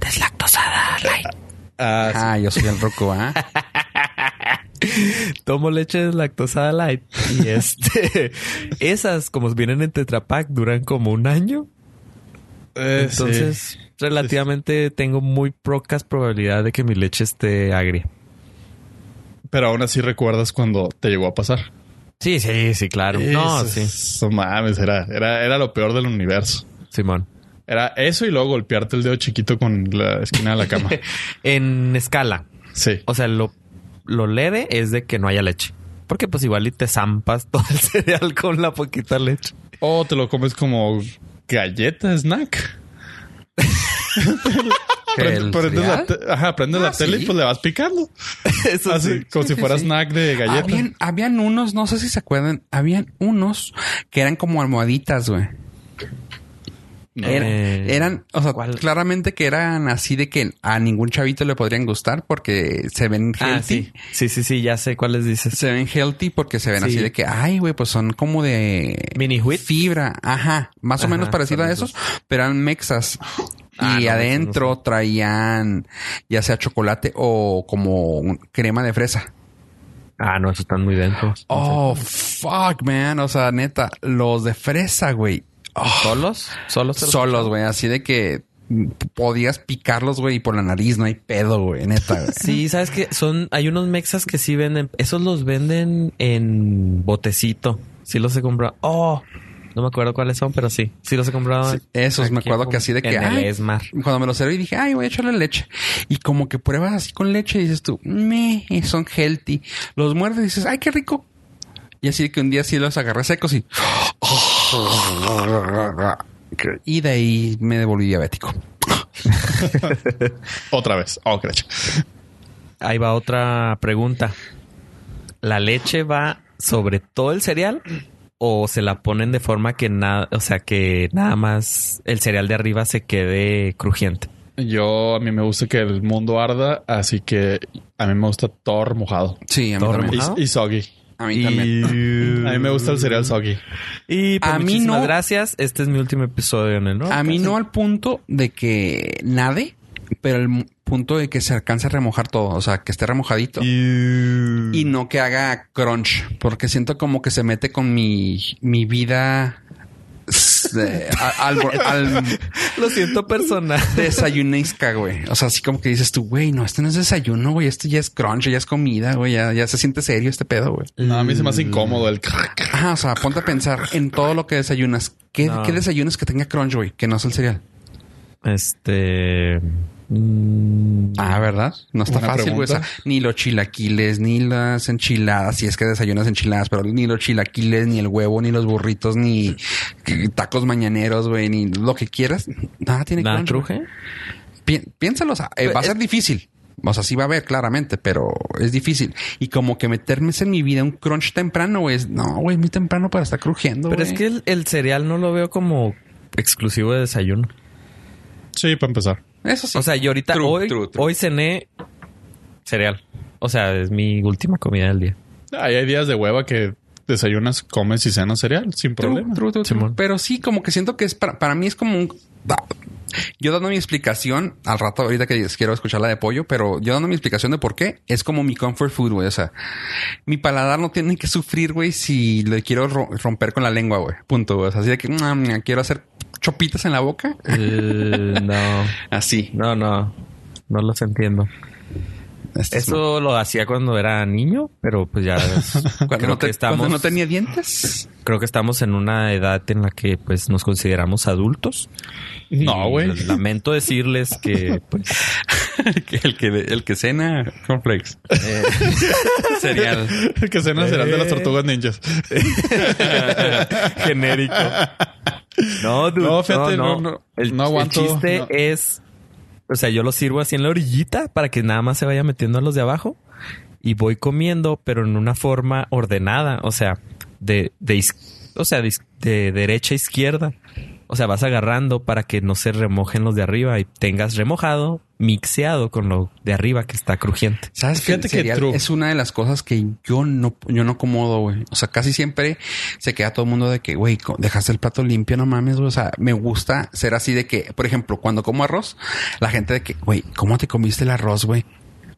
A: deslactosada. light.
C: Ah, sí.
D: Ah, yo soy el roco, ¿ah?
A: Tomo leche deslactosada light. Y este, esas, como vienen en Tetra Pak, duran como un año.
C: Eh, sí.
A: Entonces, relativamente tengo muy pocas probabilidades de que mi leche esté agria.
C: Pero aún así recuerdas cuando te llegó a pasar.
A: Sí, sí, sí, claro. No,
C: Eso-
A: sí,
C: eso mames, era, era, era lo peor del universo.
A: Simón.
C: Era eso y luego golpearte el dedo chiquito con la esquina de la cama.
A: En escala,
C: Sí.
A: O sea, lo, lo leve es de que no haya leche. Porque pues igual y te zampas todo el cereal con la poquita leche.
C: O te lo comes como galleta, snack.
D: ¿Que
C: Prende-
D: el
C: prendes la,
D: cereal?
C: te- ajá, prendes
D: Ah,
C: la tele y
D: sí.
C: pues le vas picando.
A: Eso
C: Así,
A: Ah, sí.
C: como si fuera snack de galleta.
D: Habían, habían unos, no sé si se acuerdan, habían unos que eran como almohaditas, güey.
C: No.
D: Era-
A: Eh,
D: eran, o sea,
A: ¿cuál?
D: claramente que eran así de que a ningún chavito le podrían gustar porque se ven healthy.
A: Ah, sí. Sí, sí, sí, ya sé cuáles dices.
D: Se ven healthy porque se ven
A: Sí.
D: así de que, ay, güey, pues son como de
A: Mini wheat.
D: fibra, ajá, más o
A: Ajá,
D: menos parecido
A: son
D: a
A: esos.
D: esos, pero eran mexas.
A: Ah, no,
D: y
A: esos
D: adentro traían ya sea chocolate o como un- crema de fresa.
A: Ah, no, esos están muy densos.
D: Oh, fuck, man. O sea, neta, los de fresa, güey. Oh,
A: ¿Solos? ¿Solos?
D: solos, güey. Así de que podías picarlos, güey, y por la nariz no hay pedo, güey, neta. güey.
A: Sí, sabes que son, hay unos mexas que sí venden, esos los venden en botecito. Sí los he comprado. Oh, no me acuerdo cuáles son, pero sí, sí los he comprado.
D: Sí, esos, me
A: aquí
D: acuerdo que así de que...
A: en el
D: ay,
A: Esmar.
D: cuando me lo serví dije, ay, voy a echarle leche. Y como que pruebas así con leche y dices tú, me, son healthy. Los muerdes y dices, ay, qué rico. Y así que un día sí los agarré secos y... Y de ahí me devolví diabético.
C: Otra vez. Oh, qué leche.
A: Ahí va otra pregunta. ¿La leche va sobre todo el cereal o se la ponen de forma que nada, o sea, que nada más el cereal de arriba se quede crujiente?
C: Yo a mí me gusta que el mundo arda, así que a mí me gusta Thor mojado.
D: Sí, a mí
A: Todo
D: también.
A: ¿Mojado?
C: Y, y soggy.
D: A mí también.
C: A mí me gusta el cereal soggy.
A: Y pues,
D: A mí
A: muchísimas
D: no.
A: gracias. Este es mi último episodio en el ¿no?
D: A mí no al punto de que nade, pero el mu- punto de que se alcance a remojar todo, o sea, que esté remojadito y no que haga crunch, porque siento como que se mete con mi, mi vida. s- eh, al, al- al
A: Lo siento personal.
D: desayunesca, güey. O sea, así como que dices tú, güey, no, este no es desayuno, güey, esto ya es crunch, ya es comida, güey, ya, ya se siente serio este pedo, güey.
C: No, a mí se me hace incómodo el...
D: Ajá, o sea, ponte a pensar en todo lo que desayunas. ¿Qué,
A: No.
D: qué desayunas que tenga crunch, güey? Que no es el cereal.
A: Este. mm,
D: Ah, ¿verdad? No está
C: Buena
D: fácil, güey. O sea,
C: pregunta.
D: ni los chilaquiles, ni las enchiladas, si es que desayunas enchiladas, pero ni los chilaquiles, ni el huevo, ni los burritos, ni tacos mañaneros, güey, ni lo que quieras. Nada tiene
A: ¿Nada
D: crunch, güey.
A: cruje?
D: Pi- piénsalo, o sea, eh, va a
A: Pues,
D: ser difícil. O sea, sí va a haber claramente, pero es difícil. Y como que meterme en mi vida un crunch temprano, güey, es, no, güey, muy temprano para estar crujiendo.
A: Pero
D: güey.
A: es que el, el cereal no lo veo como exclusivo de desayuno.
C: Sí, para empezar.
D: eso sí.
A: O sea, yo ahorita
D: True,
A: hoy,
D: true, true.
A: hoy cené cereal. O sea, es mi última comida del día.
C: Ahí hay días de hueva que desayunas, comes y cenas cereal sin
D: True,
C: problema.
D: true, true, true.
A: Simón.
D: Pero sí, como que siento que es para, para mí es como un. da- Yo dando mi explicación al rato, ahorita que les quiero escuchar la de pollo, pero yo dando mi explicación de por qué es como mi comfort food, güey. O sea, mi paladar no tiene que sufrir, güey, si le quiero ro- romper con la lengua, güey. Punto, güey. O sea, así de que mm, quiero hacer chopitas en la boca.
A: Eh, no,
D: Así.
A: no, no. No los entiendo.
D: Este es mal.
A: Eso lo hacía cuando era niño, pero pues ya es-
D: Cuando
A: creo,
D: no,
A: que
D: te-
A: estamos,
D: cuando no tenía dientes.
A: creo que estamos en una edad en la que pues nos consideramos adultos.
C: No,
A: Y
C: güey.
A: les Lamento decirles que pues
D: el, que, el, que, el que cena cornflakes.
A: Eh,
D: Cereal.
C: El que cena cereal de las tortugas ninjas.
A: genérico. No, dude,
C: No, fíjate,
A: no,
C: no, no,
A: El,
C: no
A: el
C: aguanto,
A: chiste
C: no.
A: es, o sea, yo lo sirvo así en la orillita para que nada más se vaya metiendo a los de abajo y voy comiendo, pero en una forma ordenada, o sea, de, de, is- o sea, de, is- de derecha a izquierda. O sea, vas agarrando para que no se remojen los de arriba y tengas remojado, mixeado con lo de arriba que está crujiente.
D: ¿Sabes que el
C: Fíjate que
D: cereal
C: true.
D: es una de las cosas que yo no, yo no acomodo, güey? O sea, casi siempre se queda todo el mundo de que, güey, co- dejaste el plato limpio, no mames, güey. O sea, me gusta ser así de que, por ejemplo, cuando como arroz, la gente de que, güey, ¿cómo te comiste el arroz, güey?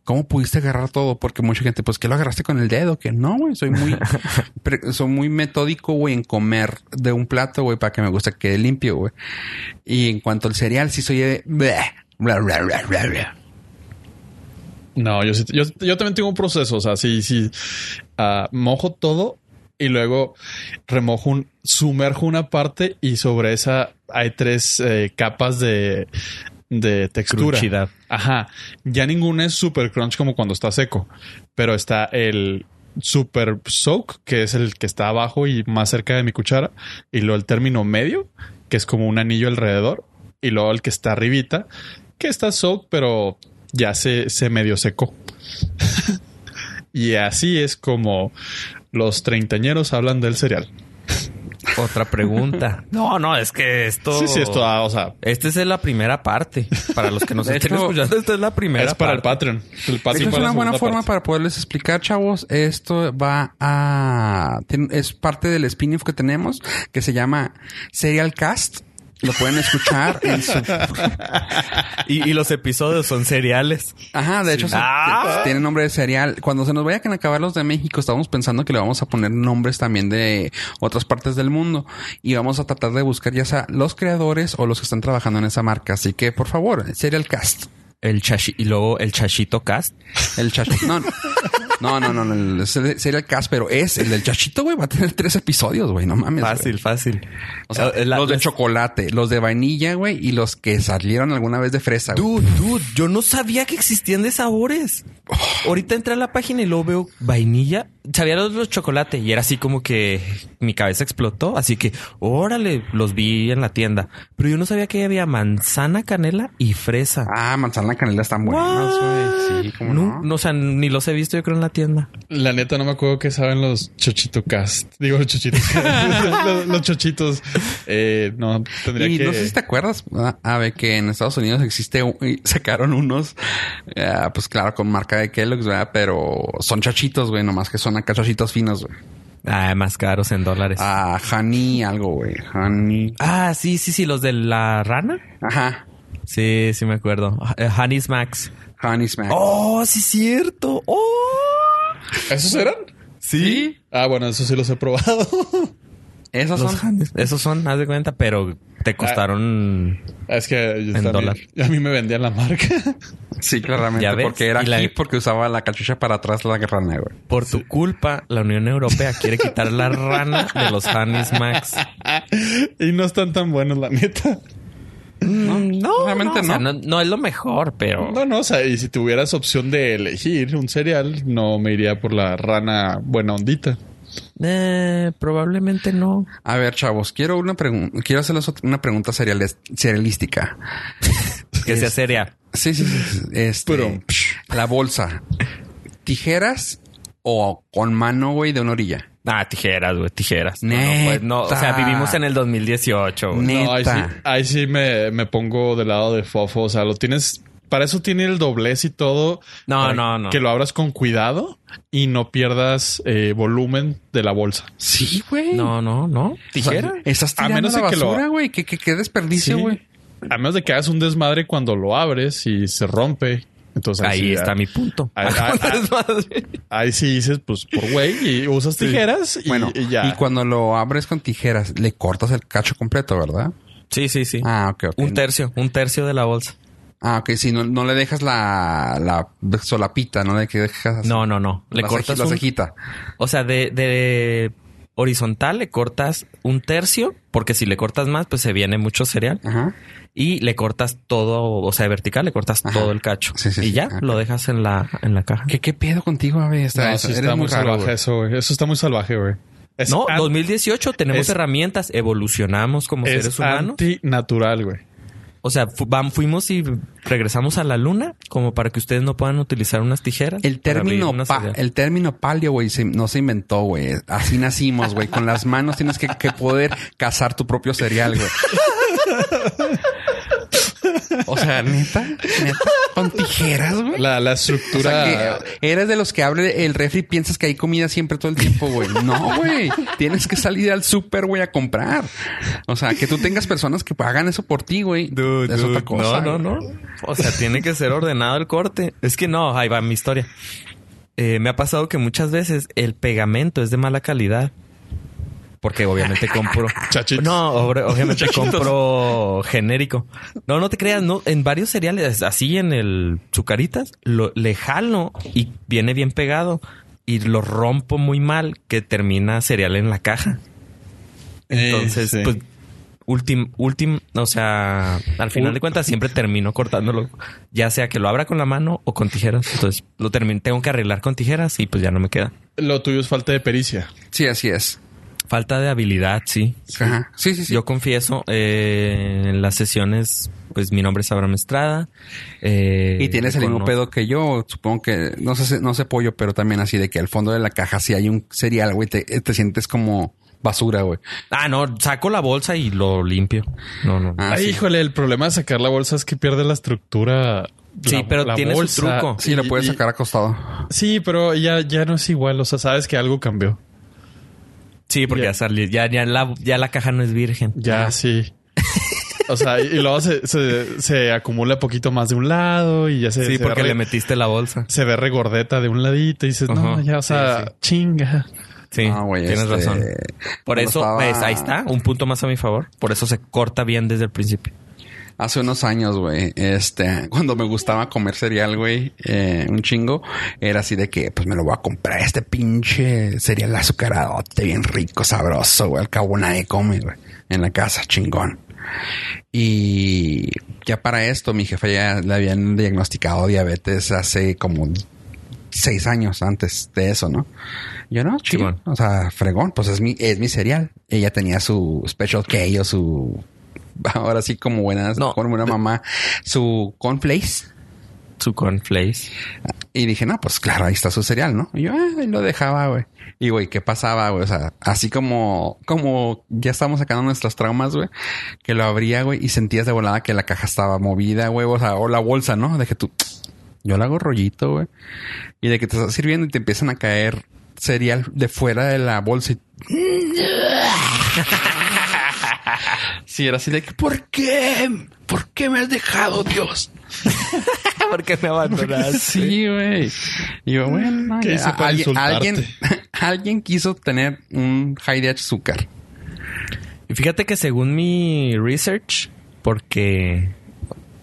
D: ¿Cómo pudiste agarrar todo? Porque mucha gente, pues, que lo agarraste con el dedo, que no, güey. Soy muy, pre- soy muy metódico, güey, en comer de un plato, güey, para que me guste que quede limpio, güey. Y en cuanto al cereal, sí soy de, bla, bla, bla, bla, bla, bla.
C: No, yo, sí- yo, yo también tengo un proceso. O sea, sí, sí. ah, mojo todo y luego remojo un, sumerjo una parte y sobre esa hay tres eh, capas de, de textura.
A: Cruchidad.
C: Ajá. Ya ninguna es super crunch como cuando está seco, pero está el super soak, que es el que está abajo y más cerca de mi cuchara, y luego el término medio, que es como un anillo alrededor, y luego el que está arribita, que está soak, pero ya se, se medio secó. y así es como los treintañeros hablan del cereal.
A: Otra pregunta. No, no, es que esto...
C: Sí, sí, esto, ah, o sea,
A: Esta es la primera parte. Para los que nos
D: De
A: estén
D: hecho,
A: escuchando, esta es la primera
C: es para el
A: parte.
C: Patreon. El
D: Esta
C: Patreon
D: es
C: para la
D: una buena
C: segunda
D: forma
C: parte.
D: para poderles explicar, chavos. Esto va a. tien- Es parte del spin-off que tenemos que se llama Serial Cast. Lo pueden escuchar en su...
A: Y, y los episodios son seriales.
D: Ajá, de hecho, se-
A: Ah.
D: tiene nombre de cereal. Cuando se nos vayan a acabar los de México, estábamos pensando que le vamos a poner nombres también de otras partes del mundo. Y vamos a tratar de buscar ya sea los creadores o los que están trabajando en esa marca. Así que, por favor, Serial Cast.
A: El chashi y luego el chachito cast.
D: El chachito. No, no, no, no, no, no, es el- sería el cast, pero es el del chachito, güey. Va a tener tres episodios, güey. No mames. güey.
A: Fácil, fácil.
D: O sea,
A: Eh, la-
D: los de
A: las-
D: chocolate, los de vainilla, güey, y los que salieron alguna vez de fresa. güey.
A: Dude, dude, yo no sabía que existían de sabores.
D: Oh.
A: Ahorita entré a la página y luego veo vainilla. Sabía los, los chocolate y era así como que mi cabeza explotó. Así que, órale, los vi en la tienda. Pero yo no sabía que había manzana, canela y fresa.
D: Ah, manzana canela están buenas, güey. Sí, cómo no.
A: no, no, o sea, ni los he visto yo creo en la tienda.
C: La neta no me acuerdo qué saben los chochito cast. Digo los chochitos. los, los chochitos. Eh, no, tendría
D: Y
C: que...
D: no sé si te acuerdas, ¿verdad? a ver, que en Estados Unidos existe, un- y sacaron unos, eh, pues claro, con marca de Kellogg's, ¿verdad? Pero son chachitos, güey, nomás que son acá chachitos finos, güey.
A: Ah, más caros en dólares. Ah.
D: Ah, honey, algo, güey. Honey.
A: sí, sí, sí, los de la rana.
D: Ajá.
A: Sí, sí me acuerdo. Eh, Honey Smacks.
D: Honey Smack.
A: Oh, sí, cierto. Oh.
C: ¿Esos eran?
D: Sí.
C: Ah, bueno, eso sí los he probado.
D: Esos
A: Los
D: son.
A: Hannes. Esos son, haz de cuenta, pero te costaron.
C: es que yo
A: En
C: también-
A: dólar.
C: a mí me vendían la marca.
D: Sí, claramente.
A: ¿Ya ves?
D: Porque era
A: Y la-
D: aquí porque usaba la cachucha para atrás la rana, güey.
A: Por tu culpa, la Unión Europea quiere quitar la rana de los Hannes Max.
C: y no están tan buenos, la neta.
A: No, no,
D: Realmente
A: o sea,
D: no.
A: no. no es lo mejor, pero.
C: No, no, o sea, y si tuvieras opción de elegir un cereal, no me iría por la rana buena ondita.
A: Eh, probablemente no.
D: A ver, chavos, quiero una pregunta. Quiero hacerles ot- una pregunta seriales- serialística.
A: Que sea seria.
D: Sí, sí, sí, sí. Este,
C: Pero-
D: la bolsa. ¿Tijeras o con mano, güey, de una orilla?
A: Ah, tijeras, güey, tijeras. No, No, pues, no, o sea,
D: Neta.
A: vivimos en el 2018. güey.
D: Neta.
C: No, ahí sí, ahí sí me, me pongo del lado de fofo. O sea, lo tienes. Para eso tiene el doblez y todo.
A: No,
C: para
A: no, no.
C: Que lo abras con cuidado y no pierdas eh, volumen de la bolsa.
D: Sí, güey.
A: No, no, no.
D: O sea,
A: Tijera.
D: estás
C: A
D: tirando
C: menos
D: la
C: de que lo-
D: basura, güey. ¿Qué, qué, qué desperdicio,
C: Sí.
D: güey.
C: A menos de que hagas un desmadre cuando lo abres y se rompe. Entonces
D: Pues
A: Ahí
C: sí,
A: está
C: ah,
A: mi punto.
C: Ahí- ahí- ahí-
A: Desmadre.
C: Ahí sí dices, pues por güey, y usas tijeras y,
D: Bueno,
C: y ya.
D: y cuando lo abres con tijeras, le cortas el cacho completo, ¿verdad?
A: Sí, sí, sí.
D: Ah, ok, ok.
A: Un tercio, un tercio de la bolsa.
D: Ah, ok, sí, no, no le dejas la, la solapita, no le que dejas así.
A: No, no, no. Le
D: la,
A: cortas
D: ceji- la
A: un-
D: cejita.
A: O sea, de, de horizontal le cortas un tercio, porque si le cortas más, pues se viene mucho cereal.
D: Ajá.
A: Y le cortas todo, o sea, de vertical le cortas
D: Ajá.
A: todo el cacho.
D: Sí, sí,
A: y
D: sí.
A: ya
D: Ajá.
A: lo dejas en la, en la caja.
D: ¿Qué, qué pedo contigo, güey? Está,
C: No,
D: eso-
C: sí
D: eres
C: está
D: muy
C: muy
D: raro,
C: salvaje
D: güey.
C: eso, güey. Eso está muy salvaje, güey. Es
A: no,
C: an-
A: 2018 tenemos
C: es-
A: herramientas, evolucionamos como seres
C: es
A: humanos.
C: antinatural, güey.
A: O sea, fu- vam- fuimos y regresamos a la luna como para que ustedes no puedan utilizar unas tijeras.
D: El
A: para abrir
D: término,
A: una
D: pa-
A: cereal.
D: el término palio, güey, se- no se inventó, güey. Así nacimos, güey. Con las manos tienes que, que poder cazar tu propio cereal, güey. O sea, neta, neta, con tijeras, güey.
C: La, la
D: O
C: estructura.
D: sea, que eres de los que abre el refri y piensas que hay comida siempre todo el tiempo, güey. No, güey. Tienes que salir al súper, güey, a comprar. O sea, que tú tengas personas que hagan eso por ti, güey.
A: Dude,
D: es otra
A: dude,
D: cosa. ¿eh?
A: No,
D: güey.
A: no, no. O sea, tiene que ser ordenado el corte. Es que no, ahí va mi historia. Eh, me ha pasado que muchas veces el pegamento es de mala calidad. Porque obviamente compro.
C: Chachitos.
A: No, obre- obviamente compro genérico. No, no te creas, no. En varios cereales, así en el Zucaritas, lo, le jalo y viene bien pegado. Y lo rompo muy mal, que termina cereal en la caja.
C: Eh,
A: Entonces,
C: sí.
A: pues, último, último, o sea, al final de cuentas siempre termino cortándolo, ya sea que lo abra con la mano o con tijeras. Entonces, lo termino, tengo que arreglar con tijeras y pues ya no me queda.
C: Lo tuyo es falta de pericia.
D: Sí, así es.
A: Falta de habilidad, sí.
D: Ajá. Sí, sí, sí.
A: Yo confieso, eh, en las sesiones, pues mi nombre es Abraham Estrada. eh,
D: y tienes el mismo
A: reconozco-
D: pedo que yo, supongo que, no sé, si- no sé pollo, pero también así de que al fondo de la caja si hay un cereal, güey, te, te sientes como basura, güey.
A: Ah, no, saco la bolsa y lo limpio. No, no.
D: Ah,
C: Ay,
D: sí.
C: híjole, el problema de sacar la bolsa es que pierde la estructura.
A: Sí,
C: la-
A: pero
C: la
A: tiene su truco.
D: Sí, lo
C: Y-
D: puedes
C: y-
D: sacar acostado.
C: Sí, pero ya, ya no es igual. O sea, sabes que algo cambió.
A: Sí, porque
C: Ya.
A: Ah. ya, salió- ya, ya la, ya la caja no es virgen.
C: Ya sí. O sea, y luego se, se, se acumula poquito más de un lado y ya se.
A: Sí,
C: se
A: porque
C: ve,
A: le metiste la bolsa.
C: se ve regordeta de un ladito y dices, no,
A: Ajá.
C: ya, o sea,
A: Sí, sí.
C: chinga.
A: Sí,
D: No, güey,
A: tienes
D: este,
A: razón. Por
D: cuando
A: eso,
D: estaba-
A: ves, ahí está, un punto más a mi favor. Por eso se corta bien desde el principio.
D: Hace unos años, güey, este, cuando me gustaba comer cereal, güey, eh, un chingo, era así de que, pues me lo voy a comprar este pinche cereal azucaradote, bien rico, sabroso, güey, al cabo nadie come, güey, en la casa, chingón. Y ya para esto, mi jefa ya le habían diagnosticado diabetes hace como seis años antes de eso, ¿no? Yo no, chido.
A: Simón.
D: o sea, fregón, pues es mi, es mi cereal. Ella tenía su special K o su ahora sí como buenas,
A: No.
D: como buena mamá, su cornflakes.
A: Su cornflakes.
D: Y dije, no, pues claro, ahí está su cereal, ¿no? Y yo, ah, ahí lo dejaba, güey. Y, güey, ¿qué pasaba, güey? O sea, así como, como ya estábamos sacando nuestras traumas, güey, que lo abría, güey, y sentías de volada que la caja estaba movida, güey, o sea, o la bolsa, ¿no? De que tú, yo la hago rollito, güey. Y de que te estás sirviendo y te empiezan a caer cereal de fuera de la bolsa. Y... Sí, era así de que, ¿por qué? ¿Por qué me has dejado, Dios?
A: ¿Por qué me abandonaste?
D: Sí, güey. Y yo, bueno, no,
C: ¿Qué
D: ya,
C: hice para
D: alguien,
C: insultarte?
D: alguien, alguien quiso tener un high de azúcar.
A: Y fíjate que según mi research, porque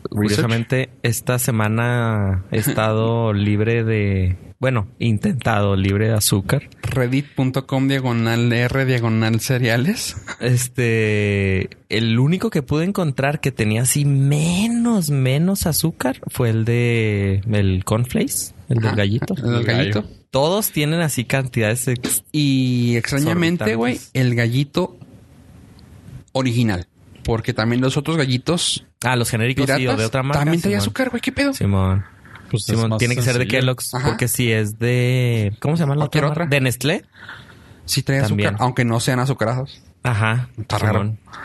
A: curiosamente esta semana he estado libre de, bueno, intentado libre de azúcar.
D: Reddit.com diagonal R diagonal cereales.
A: Este, el único que pude encontrar que tenía así menos, menos azúcar fue el de el cornflakes, el del
D: Ajá,
A: gallito.
D: El del
C: El gallo.
D: gallito.
A: Todos tienen así cantidades ex-
D: Y extrañamente,
A: Exorbitantes.
D: güey, el gallito original. Porque también los otros gallitos
A: Ah, los genéricos sí, o
D: piratas
A: de otra marca.
D: también traía
A: Simón.
D: azúcar, güey. ¿Qué pedo?
A: Simón.
C: Pues es
A: Simón,
C: más
A: tiene que ser de
C: sencillo.
A: Kellogg's.
D: Ajá.
A: Porque si es de. ¿Cómo se llama la
D: Cualquier
A: otra? marca?
D: otra.
A: De Nestlé.
D: Sí traía azúcar,
A: También.
D: aunque no sean azucarados.
A: Ajá.
D: Está
A: Simón.
D: raro.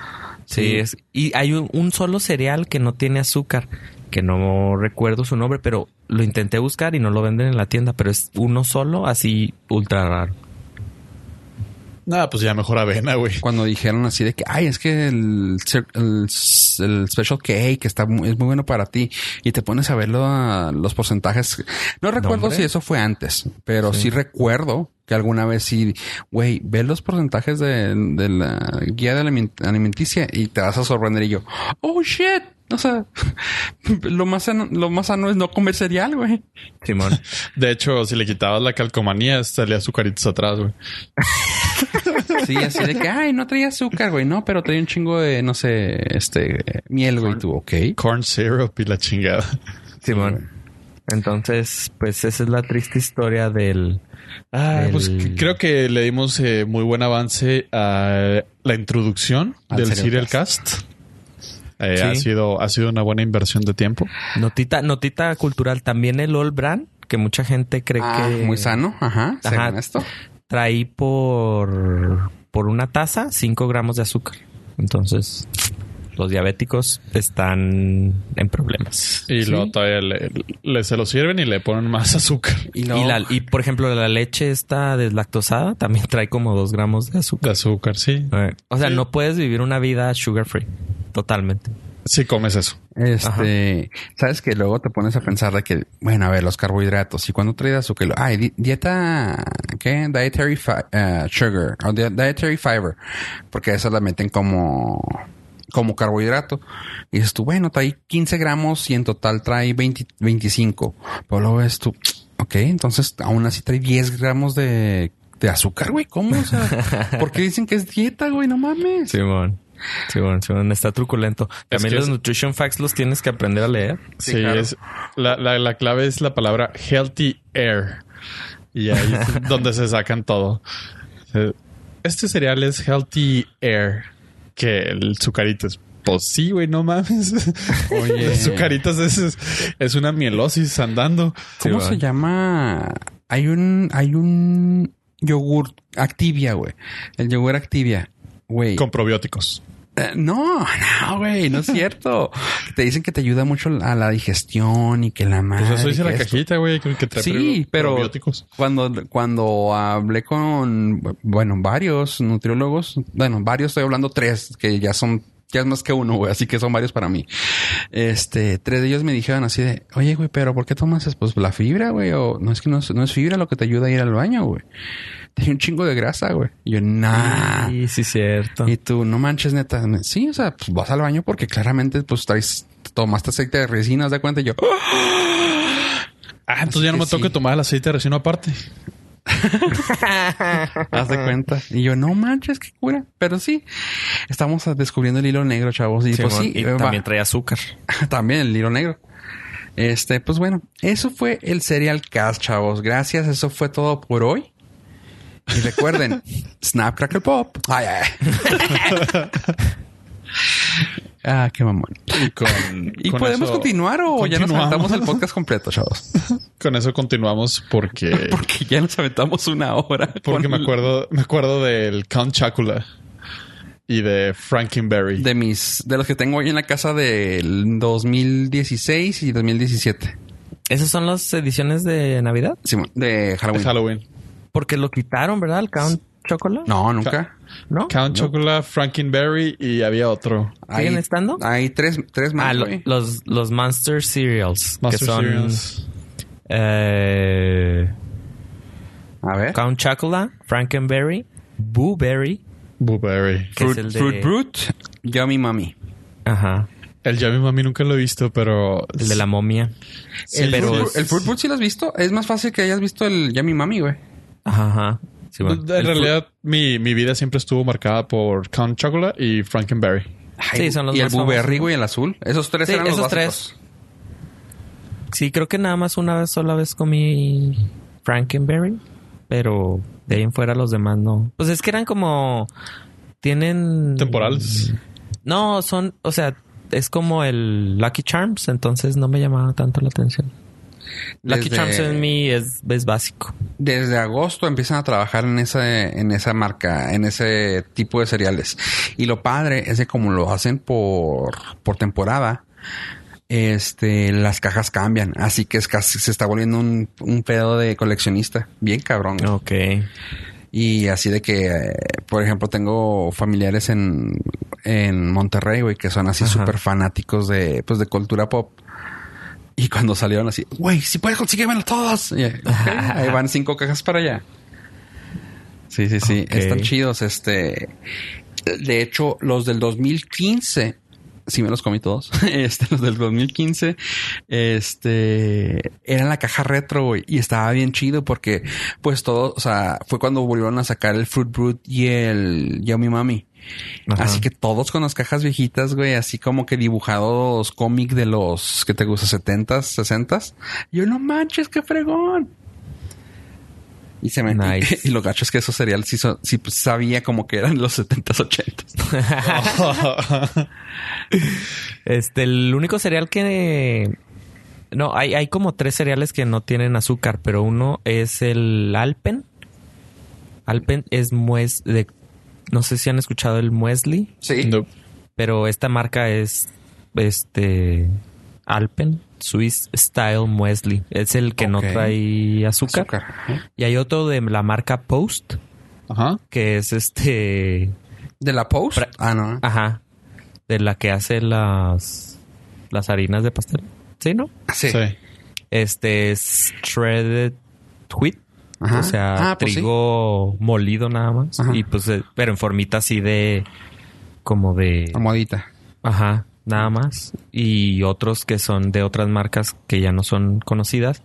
A: Sí,
D: Sí.
A: es. Y hay un, un solo cereal que no tiene azúcar, que no recuerdo su nombre, pero lo intenté buscar y no lo venden en la tienda, pero es uno solo, así ultra raro.
C: Nah, pues ya mejor avena, güey.
D: cuando dijeron así de que, ay, es que el, cer- el, s- el special K que está mu- es muy bueno para ti y te pones a verlo a los porcentajes. No recuerdo
A: Nombre.
D: si eso fue antes, pero sí, recuerdo que alguna vez sí, güey, ve los porcentajes de, de la guía de aliment- alimenticia y te vas a sorprender y yo, oh shit. O sea, lo más sano, lo más sano es no comer cereal, güey.
A: Simón.
C: De hecho, si le quitabas la calcomanía, salía azucaritos atrás, güey.
D: Sí, así de que, ay, no traía azúcar, güey, no, pero traía un chingo de, no sé, este, miel, güey, Y tú, ok.
C: Corn syrup y la chingada.
A: Simón. Entonces, pues esa es la triste historia del.
C: Ah,
A: del-
C: pues c- creo que le dimos eh, muy buen avance a la introducción
D: Al
C: del
D: Serial
C: Serial Cast. Eh,
A: Sí.
C: ha, sido, ha sido una buena inversión de tiempo.
A: Notita, notita cultural. También el All Brand, que mucha gente cree
D: Ah,
A: que.
D: muy sano, ajá,
A: Ajá.
D: según esto.
A: traí por, por una taza 5 gramos de azúcar. Entonces, los diabéticos están en problemas.
C: Y
D: Sí.
C: luego todavía le, le- se lo sirven y le ponen más azúcar.
D: Y,
A: Y, la- y, por ejemplo, la leche esta deslactosada también trae como 2 gramos de azúcar.
C: De azúcar, sí.
A: Eh, O sea, no puedes vivir una vida sugar free. Totalmente.
C: Sí comes eso.
D: este, sabes que luego te pones a pensar de que, bueno, a ver, los carbohidratos y cuando trae azúcar, Lo- ay, di- dieta, ¿qué? Dietary fi- eh, sugar o di- dietary fiber, porque eso la meten como, como carbohidrato. Y dices tú, bueno, trae 15 gramos y en total trae 20 25. Pero luego ves tú, ok, entonces aún así trae 10 gramos de, de azúcar, güey, ¿cómo? O sea, ¿por qué dicen que es dieta, güey? No mames.
A: Simón. Simón, Simón, está truculento. También
C: que
A: los
C: es-
A: nutrition facts los tienes que aprender a leer.
C: Sí,
D: claro.
C: es, la, la- la clave es la palabra healthy air. Y ahí es donde se sacan todo. Eh, Este cereal es healthy air. Que el sucaritas. Pues sí, güey, no mames.
D: Oye.
C: Los sucaritas es, es- es una mielosis andando.
D: ¿Cómo
A: Sí,
D: se
A: va.
D: llama? Hay un, hay un yogur Activia, güey. El yogur Activia, güey.
C: Con probióticos.
D: Eh, no, no, güey, no es cierto. Te dicen que te ayuda mucho a la digestión y que la madre.
C: Pues eso dice
D: que
C: la
D: Ah, esto.
C: cajita, güey, que, que trae
D: Sí,
C: pro-
D: pero
C: probióticos.
D: cuando, cuando hablé con, bueno, varios nutriólogos, bueno, varios, estoy hablando tres que ya son Ya es más que uno, güey. Así que son varios para mí. Este, tres de ellos me dijeron así de, oye, güey, pero ¿por qué tomas eso? pues la fibra, güey? O no es que no es, no es fibra lo que te ayuda a ir al baño, güey. Tiene un chingo de grasa, güey. Y yo, nah.
A: Sí, sí, cierto.
D: Ah. Y tú, no manches, neta. Me- Sí, o sea, pues vas al baño porque claramente, pues traes, tomaste aceite de resina, haz de cuenta. Y yo,
C: Ah, entonces ya no
D: que
C: me tengo
D: sí.
C: que tomar el aceite de resino aparte.
D: Haz de cuenta. Y yo, no manches, qué cura. Pero sí, estamos descubriendo el hilo negro, chavos. Y pues
A: Simón,
D: sí,
A: y
D: va-
A: también trae azúcar.
D: también el hilo negro. Este, pues bueno, eso fue el Serial Cast, chavos. Gracias, eso fue todo por hoy. Y recuerden, Snap Crackle Pop. Ay, ay. ah, qué mamón.
C: Y con,
D: ¿Y
C: con
D: podemos
C: eso-
D: continuar o ya nos
C: continuamos.
D: aventamos el podcast completo, chavos?
C: Con eso continuamos porque,
D: Porque ya nos aventamos una hora.
C: porque
D: con-
C: me acuerdo, me acuerdo del Count Chocula y de Frankenberry.
D: De mis, de los que tengo hoy en la casa del 2016 y 2017.
A: Esas son las ediciones de Navidad.
D: Simón, de
C: De
D: Halloween.
C: Halloween.
A: Porque lo quitaron, ¿verdad? El Count Chocolate.
D: No, nunca.
A: ¿No?
C: Count Chocula, Frankenberry y había otro.
A: ¿Siguen
D: Hay-
A: estando?
D: Hay tres, tres más,
A: Ah, lo-
D: güey.
A: los, los Monster Cereals.
C: Monster
A: que son,
C: Cereals.
A: eh,
D: A ver.
A: Count Chocolate, Frankenberry, Blueberry,
C: Blueberry.
A: que
D: Fruit,
A: es el de...
D: Fruit Brute, Yummy Mami.
A: Ajá.
C: El Yummy Mami nunca lo he visto, pero...
A: El de la momia.
C: Sí,
D: el,
A: pero
D: Fruit,
A: es-
D: Brute- el Fruit Brute sí lo has visto. Es más fácil que hayas visto el Yummy Mami, güey.
A: Ajá. ajá. Sí, bueno.
C: En
A: El Fruit-
C: realidad, mi, mi vida siempre estuvo marcada por Count Chocula y Frankenberry.
A: Sí, son los
D: Y el
A: más famosos,
D: Blueberry,
A: ¿no?
D: güey, el azul. Esos tres
A: Sí,
D: eran los
A: esos
D: básicos.
A: Sí, creo que nada más una vez, sola vez comí Frankenberry, pero de ahí en fuera los demás no. Pues es que eran como tienen
C: Temporales.
A: No, son, o sea, es como el Lucky Charms, entonces no me llamaba tanto la atención. Lucky
D: Desde-
A: Charms en mí es, es básico.
D: Desde agosto empiezan a trabajar en esa, en esa marca, en ese tipo de cereales. Y lo padre es que como lo hacen por, por temporada, este, las cajas cambian. Así que es casi, se está volviendo un, un pedo de coleccionista. Bien cabrón. güey.
A: Ok.
D: Y así de que, eh, por ejemplo, tengo familiares en, en Monterrey, güey, que son así
A: Ajá.
D: súper fanáticos de, pues, de cultura pop. Y cuando salieron así, güey, si puedes consíguemelos todos. Y, "Ok", ahí van cinco cajas para allá. Sí, sí, sí.
A: Ok.
D: Están chidos. Este, de hecho, los del 2015, sí me los comí todos. Este, los del 2015, este, era la caja retro, güey, y estaba bien chido porque, pues todo, o sea, fue cuando volvieron a sacar el Fruit Brute y el Yummy Mami.
A: Ajá.
D: Así que todos con las cajas viejitas, güey, así como que dibujados cómic de los que te gusta, 70s, 60s. Yo no manches, qué fregón. Y se me
A: Nice.
D: y, lo gacho es que esos cereales sí, son- sí, pues, sabía como que eran los 70s, 80s.
A: Este, el único cereal que... No, hay, hay como tres cereales que no tienen azúcar, pero uno es el Alpen. Alpen es mues de... No sé si han escuchado el muesli,
D: Sí.
C: No.
A: pero esta marca es este Alpen Swiss Style Muesli. Es el que no
D: Ok.
A: trae azúcar.
D: Azúcar.
A: Y hay otro de la marca Post,
C: Ajá.
A: que es este,
D: ¿De la Post?
A: Pra-
D: ah, no.
A: ajá, de la que hace las las harinas de pastel. ¿Sí, no?
D: Sí.
C: Sí.
A: Este es shredded wheat,
D: Ajá.
A: o sea,
D: Ah, pues sí.
A: trigo molido nada más
D: Ajá.
A: y pues eh, pero en formita así de como de
D: Almohadita.
A: Ajá, nada más. Y otros que son de otras marcas que ya no son conocidas.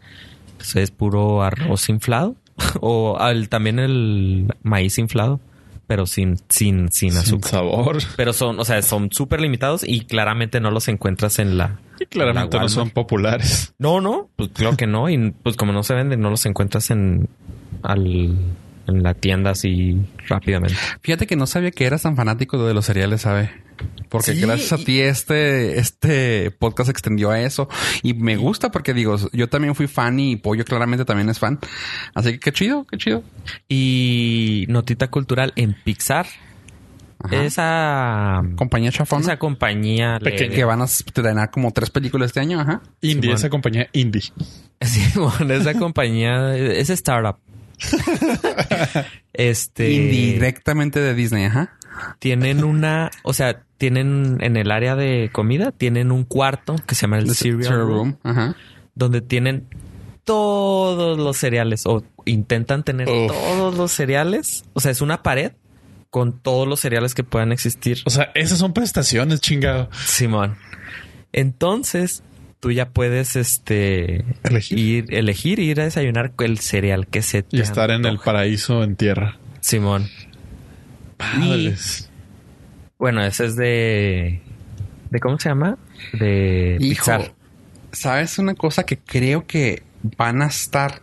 A: Pues es puro arroz inflado. o al- también el maíz inflado, pero sin, sin, sin
C: Sin
A: azúcar.
C: sabor.
A: Pero son, o sea, son súper limitados y claramente no los encuentras en la.
C: Y claramente
A: La
C: no son
A: Walmart.
C: populares.
A: No, no, pues claro que no. Y pues como no se venden, no los encuentras en, al, en la tienda así rápidamente.
D: Fíjate que no sabía que eras tan fanático de los cereales, ¿sabe? Porque
A: Sí,
D: gracias a
A: y-
D: ti este, este podcast se extendió a eso. Y me gusta porque digo, yo también fui fan y Pollo claramente también es fan. Así que qué chido, qué chido.
A: Y notita cultural en Pixar.
D: Ajá.
A: Esa.
D: Compañía chafona.
A: Esa compañía leve.
D: que van a estrenar como tres películas este año, ajá.
C: Indie,
A: Simón.
C: esa compañía indie.
A: Sí, bueno, esa compañía es startup. este
D: Indirectamente de Disney, ajá.
A: tienen una, o sea, tienen en el área de comida, tienen un cuarto que se llama el
D: The
A: cereal
D: cereal
A: room,
D: room. Ajá.
A: donde tienen todos los cereales o intentan tener
C: Uf.
A: todos los cereales. O sea, es una pared con todos los cereales que puedan existir.
C: O sea, esas son prestaciones, chingado.
A: Simón. Entonces, tú ya puedes este
C: Elegir.
A: ir elegir ir a desayunar el cereal que se te
C: Y estar en el
A: antoje.
C: paraíso en tierra.
A: Simón.
C: Padres.
A: Bueno, ese es de de cómo se llama? De
D: Hijo,
A: Pixar.
D: ¿sabes una cosa que creo que van a estar?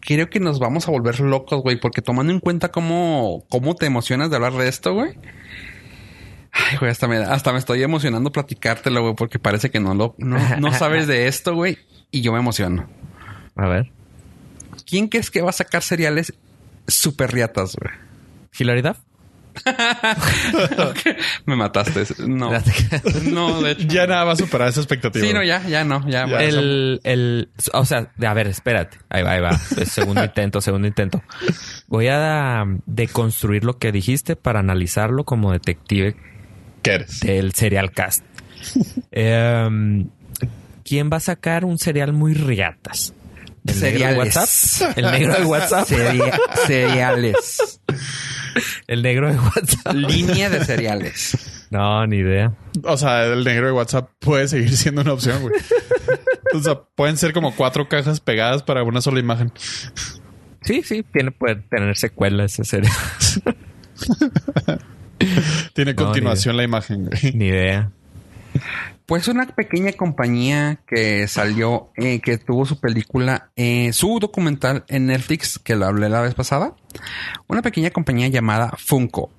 D: Creo que nos vamos a volver locos, güey, porque tomando en cuenta cómo, cómo te emocionas de hablar de esto, güey. Ay, güey, hasta me, hasta me estoy emocionando platicártelo, güey, porque parece que no lo, no, no sabes de esto, güey, y yo me emociono.
A: A ver.
D: ¿Quién crees que va a sacar cereales super riatas, güey?
A: Hilary Duff.
D: Me mataste. No. No, de hecho.
C: Ya nada va a superar esa expectativa.
D: Sí, no, ya, ya no,
C: Ya.
D: ya. por eso.
A: El, el, o sea, de- a ver, espérate. Ahí va, ahí va. Es Segundo intento, segundo intento. Voy a um, deconstruir lo que dijiste para analizarlo como detective
C: ¿Qué eres?
A: del serial cast. Em, ¿Quién va a sacar un cereal muy riatas? ¿El negro de
D: Cereales.
A: WhatsApp? El negro de WhatsApp.
D: Cerea- cereales.
A: El negro de WhatsApp.
D: Línea de cereales.
A: No, ni idea.
C: O sea, el negro de WhatsApp puede seguir siendo una opción, güey. o sea, pueden ser como cuatro cajas pegadas para una sola imagen.
A: Sí, sí, tiene, puede tener secuela ese cereal.
C: Tiene
A: No,
C: continuación la imagen, güey.
A: Ni idea.
D: Pues una pequeña compañía que salió, eh, que tuvo su película, eh, su documental en Netflix, que lo hablé la vez pasada. Una pequeña compañía llamada Funko.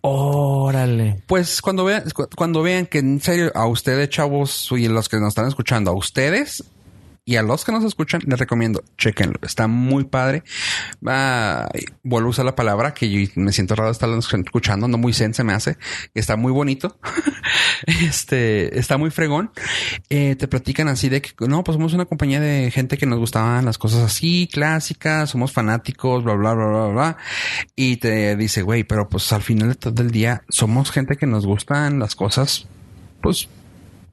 A: Órale.
D: Pues cuando vean, cu- cuando vean que en serio a ustedes, chavos, y los que nos están escuchando, a ustedes y a los que nos escuchan, les recomiendo, chequenlo. Está muy padre. Ah, y vuelvo a usar la palabra que yo me siento raro estarlo escuchando, no muy zen se me hace. Está muy bonito. este está muy fregón. Eh, te platican así de que no, pues somos una compañía de gente que nos gustaban las cosas así, clásicas, somos fanáticos, bla, bla, bla, bla, bla. Y te dice, güey, pero pues al final de todo el día somos gente que nos gustan las cosas, pues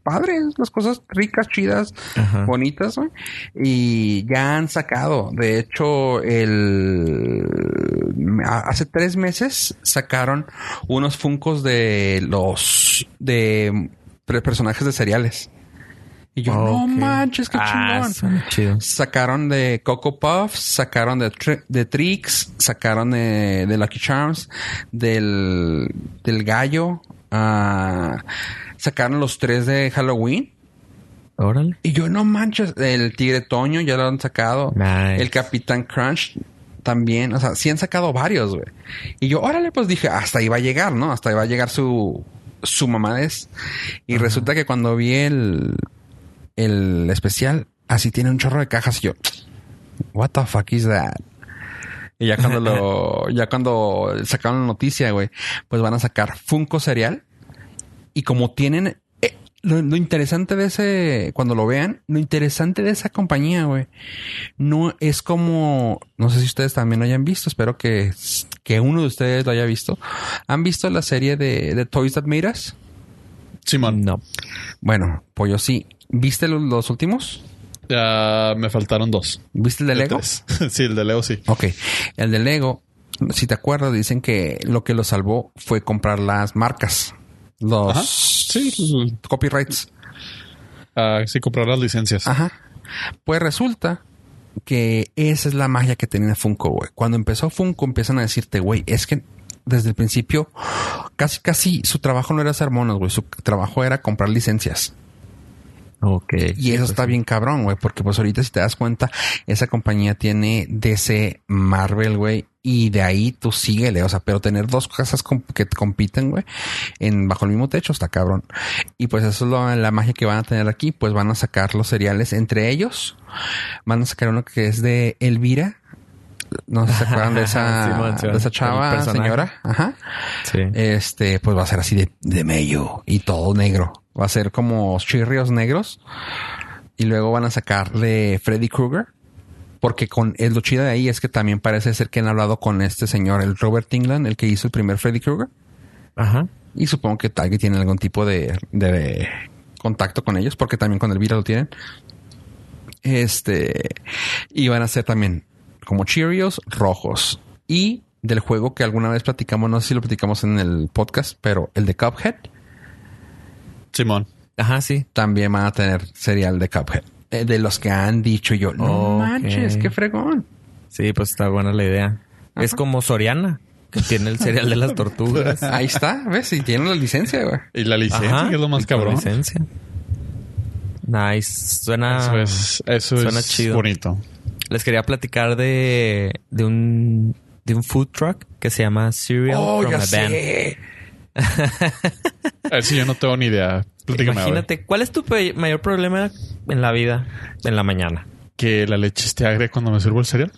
D: padres, las cosas ricas, chidas,
A: Ajá.
D: bonitas, güey. Y ya han sacado, de hecho, el a- hace tres meses sacaron unos funcos de los de pre- personajes de cereales. Y yo, no
A: Ok.
D: manches, qué
A: Ah,
D: chingón.
A: son chidos.
D: Sacaron de Coco Puffs, sacaron de, Tri- de Trix, sacaron de, de Lucky Charms, del, del gallo, ah, sacaron los tres de Halloween.
A: Órale.
D: Y yo no manches, el Tigre Toño ya lo han sacado,
A: Nice.
D: el Capitán Crunch también, o sea, sí han sacado varios, güey. Y yo, órale, pues dije, hasta ahí va a llegar, ¿no? Hasta ahí va a llegar su, su mamadez. Y resulta que cuando vi el, el especial, así tiene un chorro de cajas y yo, what the fuck is that? Y ya cuando lo, ya cuando sacaron la noticia, güey, pues van a sacar Funko Cereal. Y como tienen, eh, lo, lo interesante de ese, cuando lo vean, lo interesante de esa compañía, güey, no es como, no sé si ustedes también lo hayan visto, espero que, que uno de ustedes lo haya visto. ¿Han visto la serie de, de Toys That Made Us?
C: Simón,
A: No.
D: Bueno, pues yo sí. ¿Viste los, los últimos?
C: ya me faltaron dos.
D: ¿Viste el de Lego?
C: tres. Sí, el de Leo sí.
D: Ok. El de Lego, si te acuerdas, dicen que lo que lo salvó fue comprar las marcas. Los
C: Ajá. Sí, l-
D: copyrights.
C: ah, sí, comprar las licencias.
A: Ah.
D: Ajá. Pues resulta que esa es la magia que tenía Funko, güey. Cuando empezó Funko empiezan a decirte, güey, es que desde el principio casi casi su trabajo no era hacer monos, güey. Su trabajo era comprar licencias.
A: Ok. Pues,
D: Y eso está bien cabrón, güey, porque pues ahorita si te das cuenta, esa compañía tiene DC, Marvel, güey, y de ahí tú síguele, o sea, pero tener dos casas comp- que compiten, güey, en bajo el mismo techo está cabrón. Y pues eso es lo- la magia que van a tener aquí, pues van a sacar los cereales entre ellos, van a sacar uno que es de Elvira, no sé si se acuerdan de esa,
A: Simón, Simón.
D: de esa
A: El
D: chava,
A: personaje.
D: señora, ajá
A: Sí.
C: Eh,
D: este, pues va a ser así de, de mello y todo negro. Va a ser como chirrios negros. Y luego van a sacar de Freddy Krueger. Porque con el lo chido de ahí es que también parece ser que han hablado con este señor, el Robert England, el que hizo el primer Freddy Krueger.
A: Ajá.
D: Y supongo que Target tiene algún tipo de, de contacto con ellos, porque también con el virus lo tienen. Este. Y van a ser también como Cheerios rojos. Y del juego que alguna vez platicamos, no sé si lo platicamos en el podcast, pero el de Cuphead
B: Simón.
A: Ajá, sí.
D: también van a tener cereal de Cuphead. Eh, De los que han dicho yo,
A: Ok.
D: no manches, qué fregón.
A: Sí, pues está buena la idea. Es como Soriana, que tiene el cereal de las tortugas.
D: Ahí está, ves, y tienen la licencia, güey.
C: Y la licencia,
A: Ajá,
C: que es lo más
A: y con
C: cabrón.
A: licencia. Nice. Suena.
C: Eso es, eso
A: Suena
C: es
A: chido.
C: bonito.
A: Les quería platicar de, de un de un food truck que se llama Cereal
D: Oh,
A: from
D: ya
A: a Van.
D: sé.
C: A ver si yo no tengo ni idea. Platícame, a ver.
A: Imagínate, ¿cuál es tu pe- mayor problema en la vida en la mañana?
C: que la leche esté agria cuando me sirvo el cereal.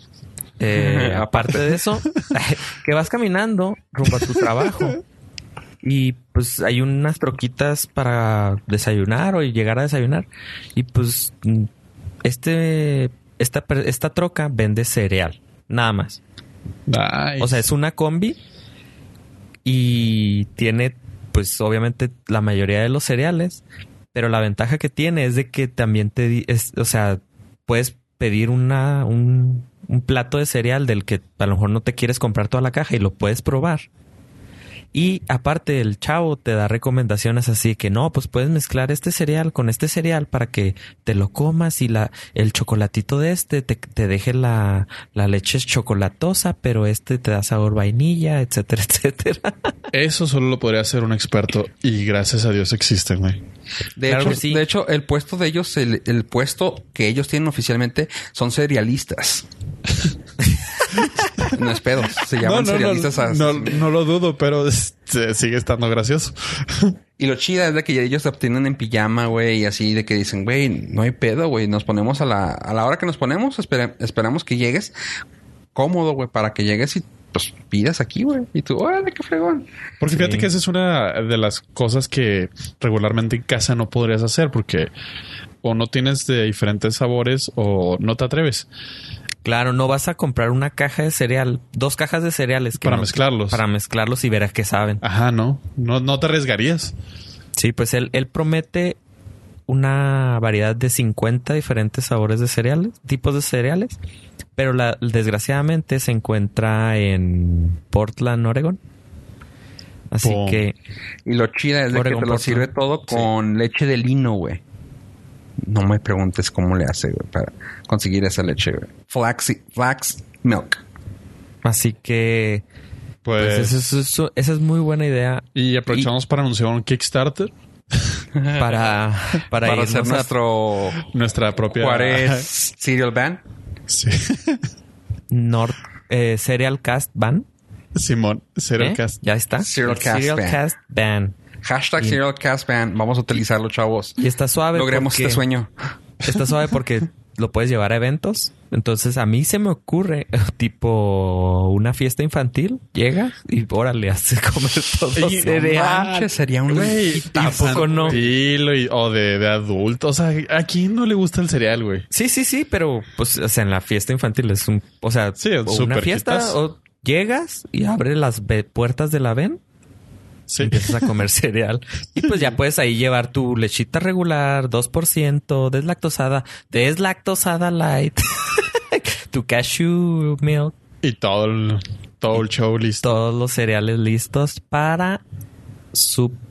A: Eh,
D: Ajá.
A: aparte de eso, que vas caminando rumbo a tu trabajo y pues hay unas troquitas para desayunar o llegar a desayunar y pues mm, este esta per- esta troca vende cereal, nada más.
C: Nice.
A: O sea, es una combi y tiene, pues obviamente, la mayoría de los cereales. Pero la ventaja que tiene es de que también te... di- es- o sea, puedes pedir una, un, un plato de cereal del que a lo mejor no te quieres comprar toda la caja y lo puedes probar. Y aparte el chavo te da recomendaciones así que no, pues puedes mezclar este cereal con este cereal para que te lo comas y la, el chocolatito de este te, te deje la, la leche es chocolatosa, pero este te da sabor vainilla, etcétera, etcétera.
C: Eso solo lo podría hacer un experto y gracias a Dios existen, güey.
D: De,
A: Claro
D: hecho,
A: que sí.
D: de hecho, el puesto de ellos, el, el puesto que ellos tienen oficialmente son cerealistas. no es pedo, se llaman cerealistas. a-
C: no, no lo dudo, pero este, sigue estando gracioso.
D: Y lo chida es de que ellos se obtienen en pijama, güey, y así de que dicen, güey, no hay pedo, güey, nos ponemos a la, a la hora que nos ponemos, espera- esperamos que llegues cómodo, güey, para que llegues y pues pidas aquí, güey. Y tú, órale, qué fregón.
C: Porque
A: Sí.
C: fíjate que esa es una de las cosas que regularmente en casa no podrías hacer porque o no tienes de diferentes sabores o no te atreves
A: Claro, no vas a comprar una caja de cereal, dos cajas de cereales que
C: para
A: no-
C: mezclarlos.
A: para mezclarlos y verás que saben.
C: Ajá, no, no, no te arriesgarías.
A: Sí, pues él, él promete una variedad de 50 diferentes sabores de cereales, tipos de cereales, pero la, desgraciadamente se encuentra en Portland, Oregon. Así
C: Pum.
A: que
D: Y lo chida es de
A: Oregon
D: que te lo
A: Portland.
D: sirve todo con leche de lino, güey. No me preguntes cómo le hace, güey, para conseguir esa leche, güey. Flax, flax milk.
A: así que
C: Pues,
A: pues, eso es- eso- esa es muy buena idea
C: y aprovechamos para anunciar un Kickstarter,
A: para para,
D: Para,
A: irnos
D: hacer
A: a-
D: nuestro...
C: nuestra propia
D: ¿Cuál es? Cereal Van.
C: Sí.
A: North eh, Cereal Cast Ban.
C: Simón, cero
A: ¿eh?
C: cast.
A: Ya está.
D: Cereal
A: El
D: Cast
A: Cereal
D: Ban.
A: Cast Ban.
D: Hashtag
A: Y-
D: Serial Cast Band. Vamos a utilizarlo, chavos.
A: Y está suave.
D: Logremos
A: porque-
D: este sueño.
A: Está suave porque lo puedes llevar a eventos. Entonces a mí se me ocurre tipo una fiesta infantil. Llega y órale, hace comer todo
C: Oye, no
A: cereal.
D: Manches, sería un
C: Güey,
A: tampoco
C: infantil,
A: no.
C: y- o de, de adulto. O sea, ¿a quién no le gusta el cereal, güey?
A: Sí, sí, sí, pero pues o sea, en la fiesta infantil es un, o sea,
C: Sí, es
A: o una
C: súper
A: fiesta
C: quitas.
A: o llegas y abre las ve- puertas de la ven,
C: Sí.
A: empiezas a comer cereal y pues ya puedes ahí llevar tu lechita regular, 2%, deslactosada, deslactosada light, tu cashew milk
C: Y todo el, todo el show listo.
A: todos los cereales listos para su
C: pues,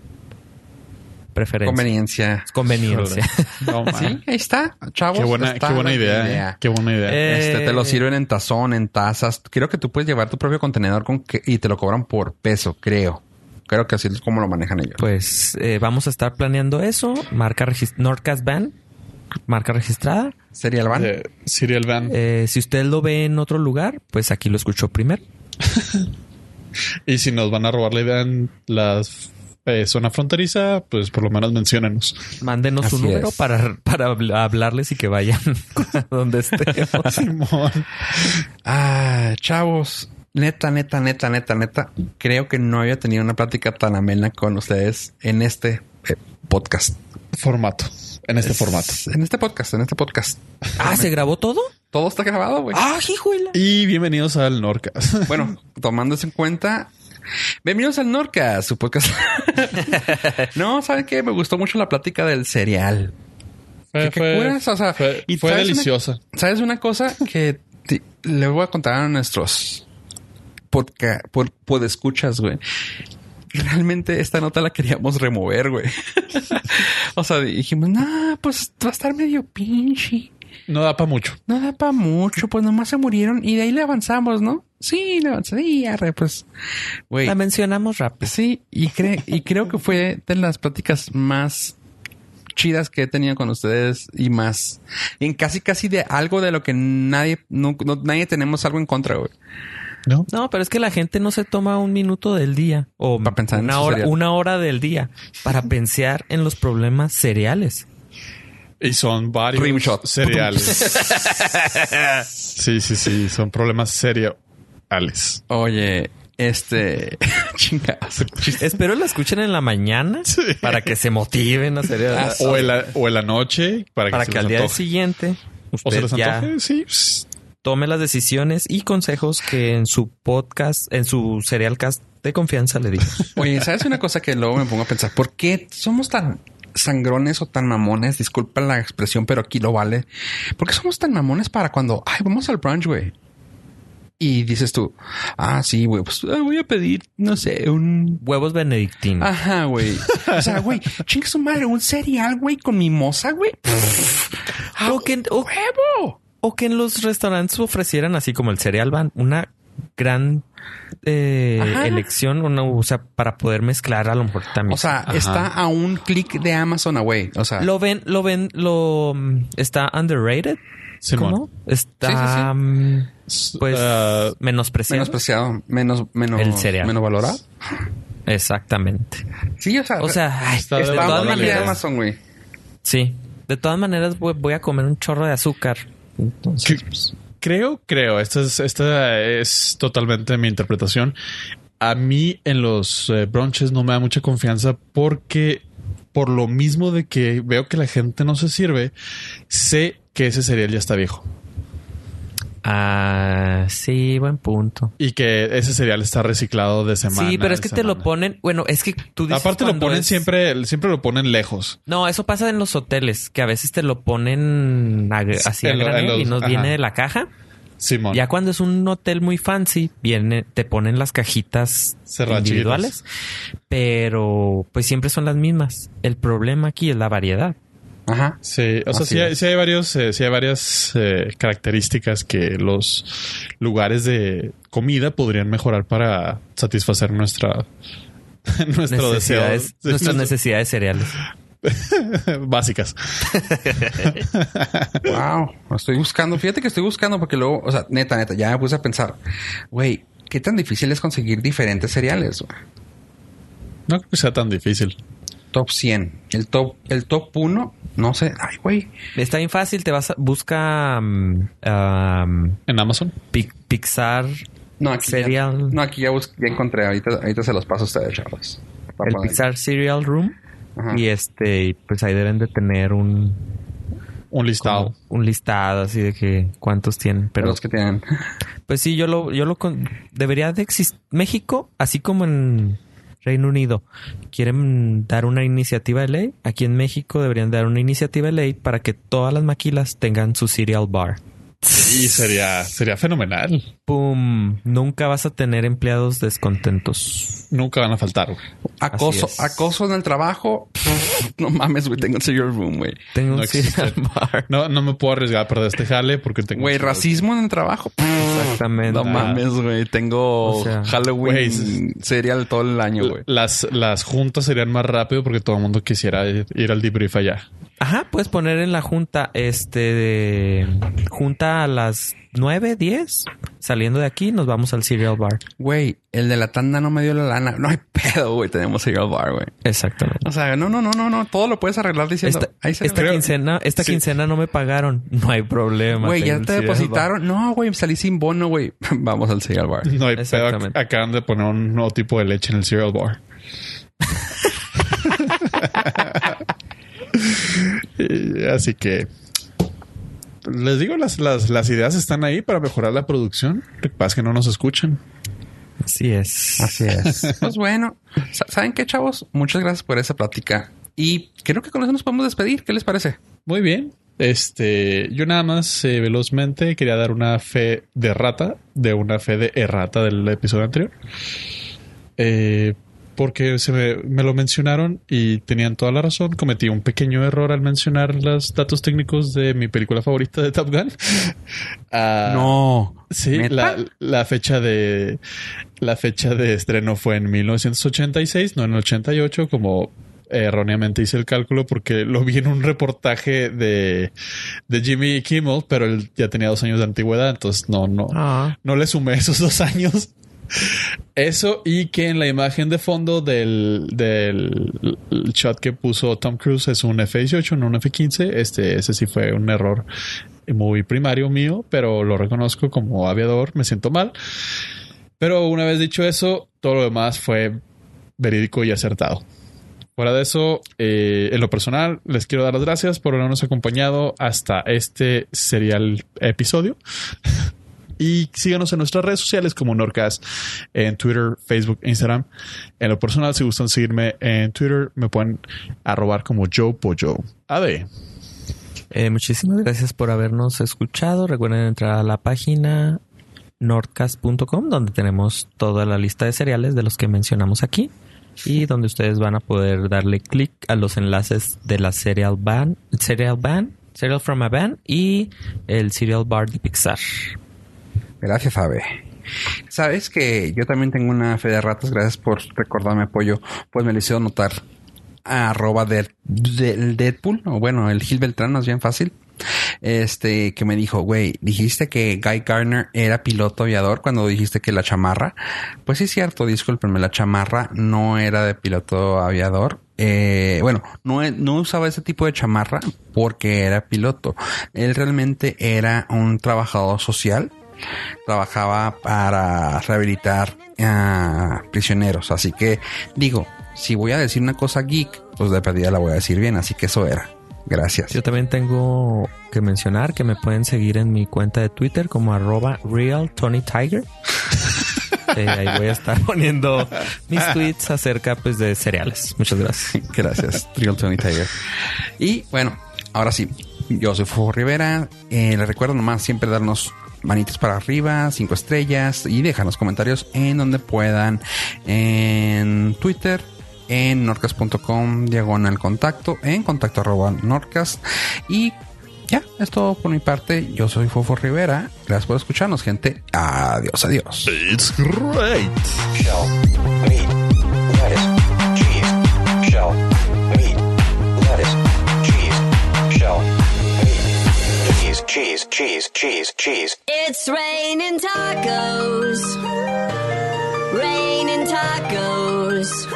A: preferencia.
D: Conveniencia.
A: Conveniencia.
C: No,
D: Sí,
C: man.
D: ahí está. Chavos.
C: ah. Qué buena,
D: está
C: qué buena
D: la
C: idea, eh. Qué buena idea.
A: Eh,
D: Este, te lo sirven en tazón, en tazas. Creo que tú puedes llevar tu propio contenedor con que- y te lo cobran por peso, creo. Creo que así es como lo manejan ellos.
A: Pues eh, vamos a estar planeando eso. Marca regis- Nordcast Van. Marca registrada.
D: Serial Van.
C: De Cereal Van.
A: Eh, si usted lo ve en otro lugar, pues aquí lo escuchó primero.
C: Y si nos van a robar la idea en la eh, zona fronteriza, pues por lo menos menciónenos.
A: Mándenos su
D: Así
A: número
D: es.
A: para, para habl- hablarles y que vayan a donde estemos.
C: Simón.
D: Ah, chavos. Neta, neta, neta, neta, neta. Creo que no había tenido una plática tan amena con ustedes en este eh, podcast.
C: Formato. En este formato.
D: En este podcast, en este podcast.
A: ah, ¿se grabó todo?
D: Todo Pues, está grabado, güey.
A: Ah, hijuela.
C: Y bienvenidos al Norcas.
D: Bueno, tomándose en cuenta, Bienvenidos al Norca, su podcast. no, ¿saben qué? Me gustó mucho la plática del cereal.
C: Fue,
D: ¿Qué- qué curas? O sea,
C: fue-
D: y
C: fue
D: traes una-
C: deliciosa.
D: ¿Sabes una cosa que te- le voy a contar a nuestros podcast, por, escuchas, güey? Realmente esta nota la queríamos remover, güey. o sea, dijimos, nah, pues va a estar medio pinche.
B: No da para mucho.
D: No da para mucho, pues nomás se murieron y de ahí le avanzamos, ¿no? Sí, le avanzamos. Sí, arre, pues. Güey.
A: La mencionamos rápido.
D: Sí, y, cre- y creo que fue de las pláticas más chidas que he tenido con ustedes y más en casi casi de algo de lo que nadie no, no- nadie tenemos algo en contra güey
B: ¿No?
A: No, pero es que la gente no se toma un minuto del día o
D: Para pensar en
A: una
D: su
A: hora,
D: cereal.
A: una hora del día para pensar en los problemas cereales.
B: Y son varios
D: Rimshot.
B: cereales.
C: Sí, sí, sí. Son problemas serios. Alex.
D: oye este chingados chiste.
A: Espero la escuchen en la mañana para que se motiven a hacer
C: O en, la, o en la noche para que,
A: para
C: se
A: que
C: les
A: al día
C: antoje.
A: siguiente
C: O se
A: usted
C: les
A: ya
C: antoje, sí. pss.
A: tome las decisiones y consejos que en su podcast, en su serialcast de confianza le digo.
D: oye sabes una cosa que luego me pongo a pensar por qué somos tan sangrones o tan mamones disculpa la expresión pero aquí lo vale por qué somos tan mamones para cuando ay vamos al brunch güey y dices tú ah sí güey pues ah, voy a pedir no sé un
A: Huevos benedictinos.
D: Ajá, güey. O sea, güey, chinga su madre, un cereal, güey, con mimosa, güey. Ah,
A: O que- o-
D: ¡Huevo!
A: O que en los restaurantes ofrecieran, así como el cereal van, una gran eh,
D: Ajá.
A: elección, una, o sea, para poder mezclar a lo mejor también.
D: O sea,
B: Ajá.
D: está a un clic de Amazon, ah, güey. O sea,
A: lo ven, lo ven, lo mm, está underrated.
B: Simón.
A: ¿Cómo? Está
D: Sí, sí, sí.
A: mm, pues
C: Ah,
A: menospreciado.
D: menos preciado, menos, menos,
A: El cereal.
D: menos valorado.
A: Exactamente.
D: Sí, o sea,
A: O sea, ay,
C: Está
A: de
C: de
D: está a
A: todas
D: un clic de
C: valorabilidad.
A: maneras,
D: Amazon, güey.
A: sí. De todas maneras voy, voy a comer un chorro de azúcar.
C: que- creo, creo. Esta es, esta es totalmente mi interpretación. A mí en los eh, brunches no me da mucha confianza porque por lo mismo de que veo que la gente no se sirve, sé que ese cereal ya está viejo
A: Ah, sí, buen punto.
C: y que ese cereal está reciclado de semana.
A: sí, pero es
C: en
A: que te lo
C: semana.
A: ponen, bueno, es que tú dices
C: Aparte lo
A: cuando
C: ponen
A: es-
C: siempre, siempre lo ponen lejos.
A: No, eso pasa en los hoteles, que a veces te lo ponen a- así a
C: en lo- en
A: granel y
C: los-
A: nos
C: ajá.
A: viene de la caja.
C: Simón.
A: Ya cuando es un hotel muy fancy, viene, te ponen las cajitas
C: Cerrachitos.
A: individuales, pero pues siempre son las mismas. El problema aquí es la variedad.
D: Ajá.
C: Sí, o sea,
D: Así
C: sí hay,
D: es.
C: sí hay varios, eh, sí hay varias eh, características que los lugares de comida podrían mejorar para satisfacer nuestra nuestro deseo
A: Necesidades,
C: sí,
A: nuestras
C: nuestro-
A: necesidades cereales.
C: básicas.
D: Wow, estoy buscando. Fíjate que estoy buscando porque luego, o sea, neta, neta, ya me puse a pensar, güey, qué tan difícil es conseguir diferentes cereales, güey.
C: No creo que sea tan difícil.
D: Top 100. El top, el top 1, no sé. Ay, güey.
A: Está bien fácil, te vas a busca mm, um,
C: En Amazon.
A: Pi- Pixar
D: No, aquí
A: Cereal.
D: Ya, no, aquí ya, bus- ya encontré. Ahorita, ahorita se los paso a ustedes, chavos. Para
A: el
D: poner-
A: Pixar Cereal Room
D: Ajá.
A: y este y, pues ahí deben de tener un
C: Un
A: como
C: listado.
A: un listado así de que cuántos tienen pero
D: los que tienen.
A: pues sí yo lo yo lo con- debería de existir México así como en Reino Unido quieren dar una iniciativa de ley aquí en México deberían dar una iniciativa de ley para que todas las maquilas tengan su cereal bar
C: Y sería, sería fenomenal.
A: pum nunca vas a tener empleados descontentos
C: Nunca van a faltar. güey.
D: Acoso,
A: es.
D: acoso en el trabajo. no mames, güey. Tengo el cereal room, güey.
A: tengo
C: No
A: un cereal
C: existe.
A: bar
C: No, no me puedo arriesgar a perder este jale porque tengo.
D: Güey, racismo en el trabajo.
A: exactamente
D: No mames, güey. Tengo
A: O sea,
D: Halloween
C: güey,
D: cereal todo el año, güey.
C: Las, las juntas serían más rápido porque todo el mundo quisiera ir, ir al debrief allá.
A: Ajá, puedes poner en la junta, este, de- junta a las 9, 10, saliendo de aquí, nos vamos al cereal bar.
D: Güey, el de la tanda no me dio la lana. No hay pedo, güey. Tenemos cereal bar, güey.
A: Exactamente.
D: O sea, no, no, no, no, no. Todo lo puedes arreglar diciendo.
A: Esta,
D: ahí se
A: esta quincena, esta
C: Sí.
A: quincena no me pagaron, no hay problema.
D: Güey, ya
A: tengo
D: te
A: el cereal bar.
D: depositaron. No, güey, salí sin bono, güey. Vamos al cereal bar.
C: No hay pedo. ac-
A: Exactamente.
C: Acaban de poner un nuevo tipo de leche en el cereal bar. Y- Así que les digo, las, las, las ideas están ahí para mejorar la producción. Lo que pasa es que no nos escuchan.
A: Así es.
D: Así es. pues bueno, sa- ¿saben qué, chavos? Muchas gracias por esa plática. Y creo que con eso nos podemos despedir. ¿Qué les parece?
C: Muy bien. Este, yo nada más eh, velozmente quería dar una fe de rata, de una fe de errata del episodio anterior. Eh, porque se me, me lo mencionaron y tenían toda la razón. Cometí un pequeño error al mencionar los datos técnicos de mi película favorita de Top Gun. Ah,
D: No.
C: Sí,
D: ¿Neta?
C: la, la fecha de la fecha de estreno fue en 1986, no en el 88, como erróneamente hice el cálculo porque lo vi en un reportaje de, de Jimmy Kimmel, pero él ya tenía dos años de antigüedad, entonces no, no,
A: Ah,
C: no le sumé esos dos años. Eso y que en la imagen de fondo del, del el shot que puso Tom Cruise es un F-18, no un F-15. Este, ese sí fue un error muy primario mío, pero lo reconozco como aviador, me siento mal. Pero una vez dicho eso, todo lo demás fue verídico y acertado. Fuera de eso, eh, en lo personal, les quiero dar las gracias por habernos acompañado hasta este serial episodio. Y síganos en nuestras redes sociales como Norcas, en Twitter, Facebook, Instagram. En lo personal, si gustan seguirme en Twitter, me pueden arrobar como Joe Pollo. AD.
A: eh, muchísimas gracias por habernos escuchado. Recuerden entrar a la página nordcast.com donde tenemos toda la lista de cereales de los que mencionamos aquí y donde ustedes van a poder darle clic a los enlaces de la Serial Ban, Serial Ban, Serial from a Ban y el Serial Bar de Pixar.
D: Gracias, Abe. Sabes que yo también tengo una fe de ratas. Gracias por recordarme apoyo. Pues me lo hicieron notar. Arroba del, del Deadpool. O bueno, el Gil Beltrán, más bien fácil. Este que me dijo, güey, dijiste que Guy Garner era piloto aviador cuando dijiste que la chamarra. Pues sí, es cierto, discúlpenme, la chamarra no era de piloto aviador. Eh, bueno, no, e- no usaba ese tipo de chamarra porque era piloto. Él realmente era un trabajador social trabajaba para rehabilitar a prisioneros. Así que digo, si voy a decir una cosa geek, pues de perdida la voy a decir bien. Así que eso era. Gracias.
A: Yo también tengo que mencionar que me pueden seguir en mi cuenta de Twitter como arroba real Tony Tiger. Eh, ahí voy a estar poniendo mis tweets acerca pues de cereales. Muchas gracias.
D: Gracias, Trial Tony Tiger. Y bueno, ahora sí, yo soy Fuego Rivera. Eh, les recuerdo nomás siempre darnos manitas para arriba, cinco estrellas y dejar los comentarios en donde puedan, en Twitter. En norcas.com, diagonal contacto, en contacto arroba norcas. Y ya, es todo por mi parte. Yo soy Fofo Rivera. Gracias por escucharnos, gente. Adiós, adiós.
C: It's great.
E: shell, meat, lettuce, cheese, shell, meat, lettuce, cheese, shell, meat, cheese, cheese, cheese, cheese, cheese.
F: It's raining tacos. Raining tacos.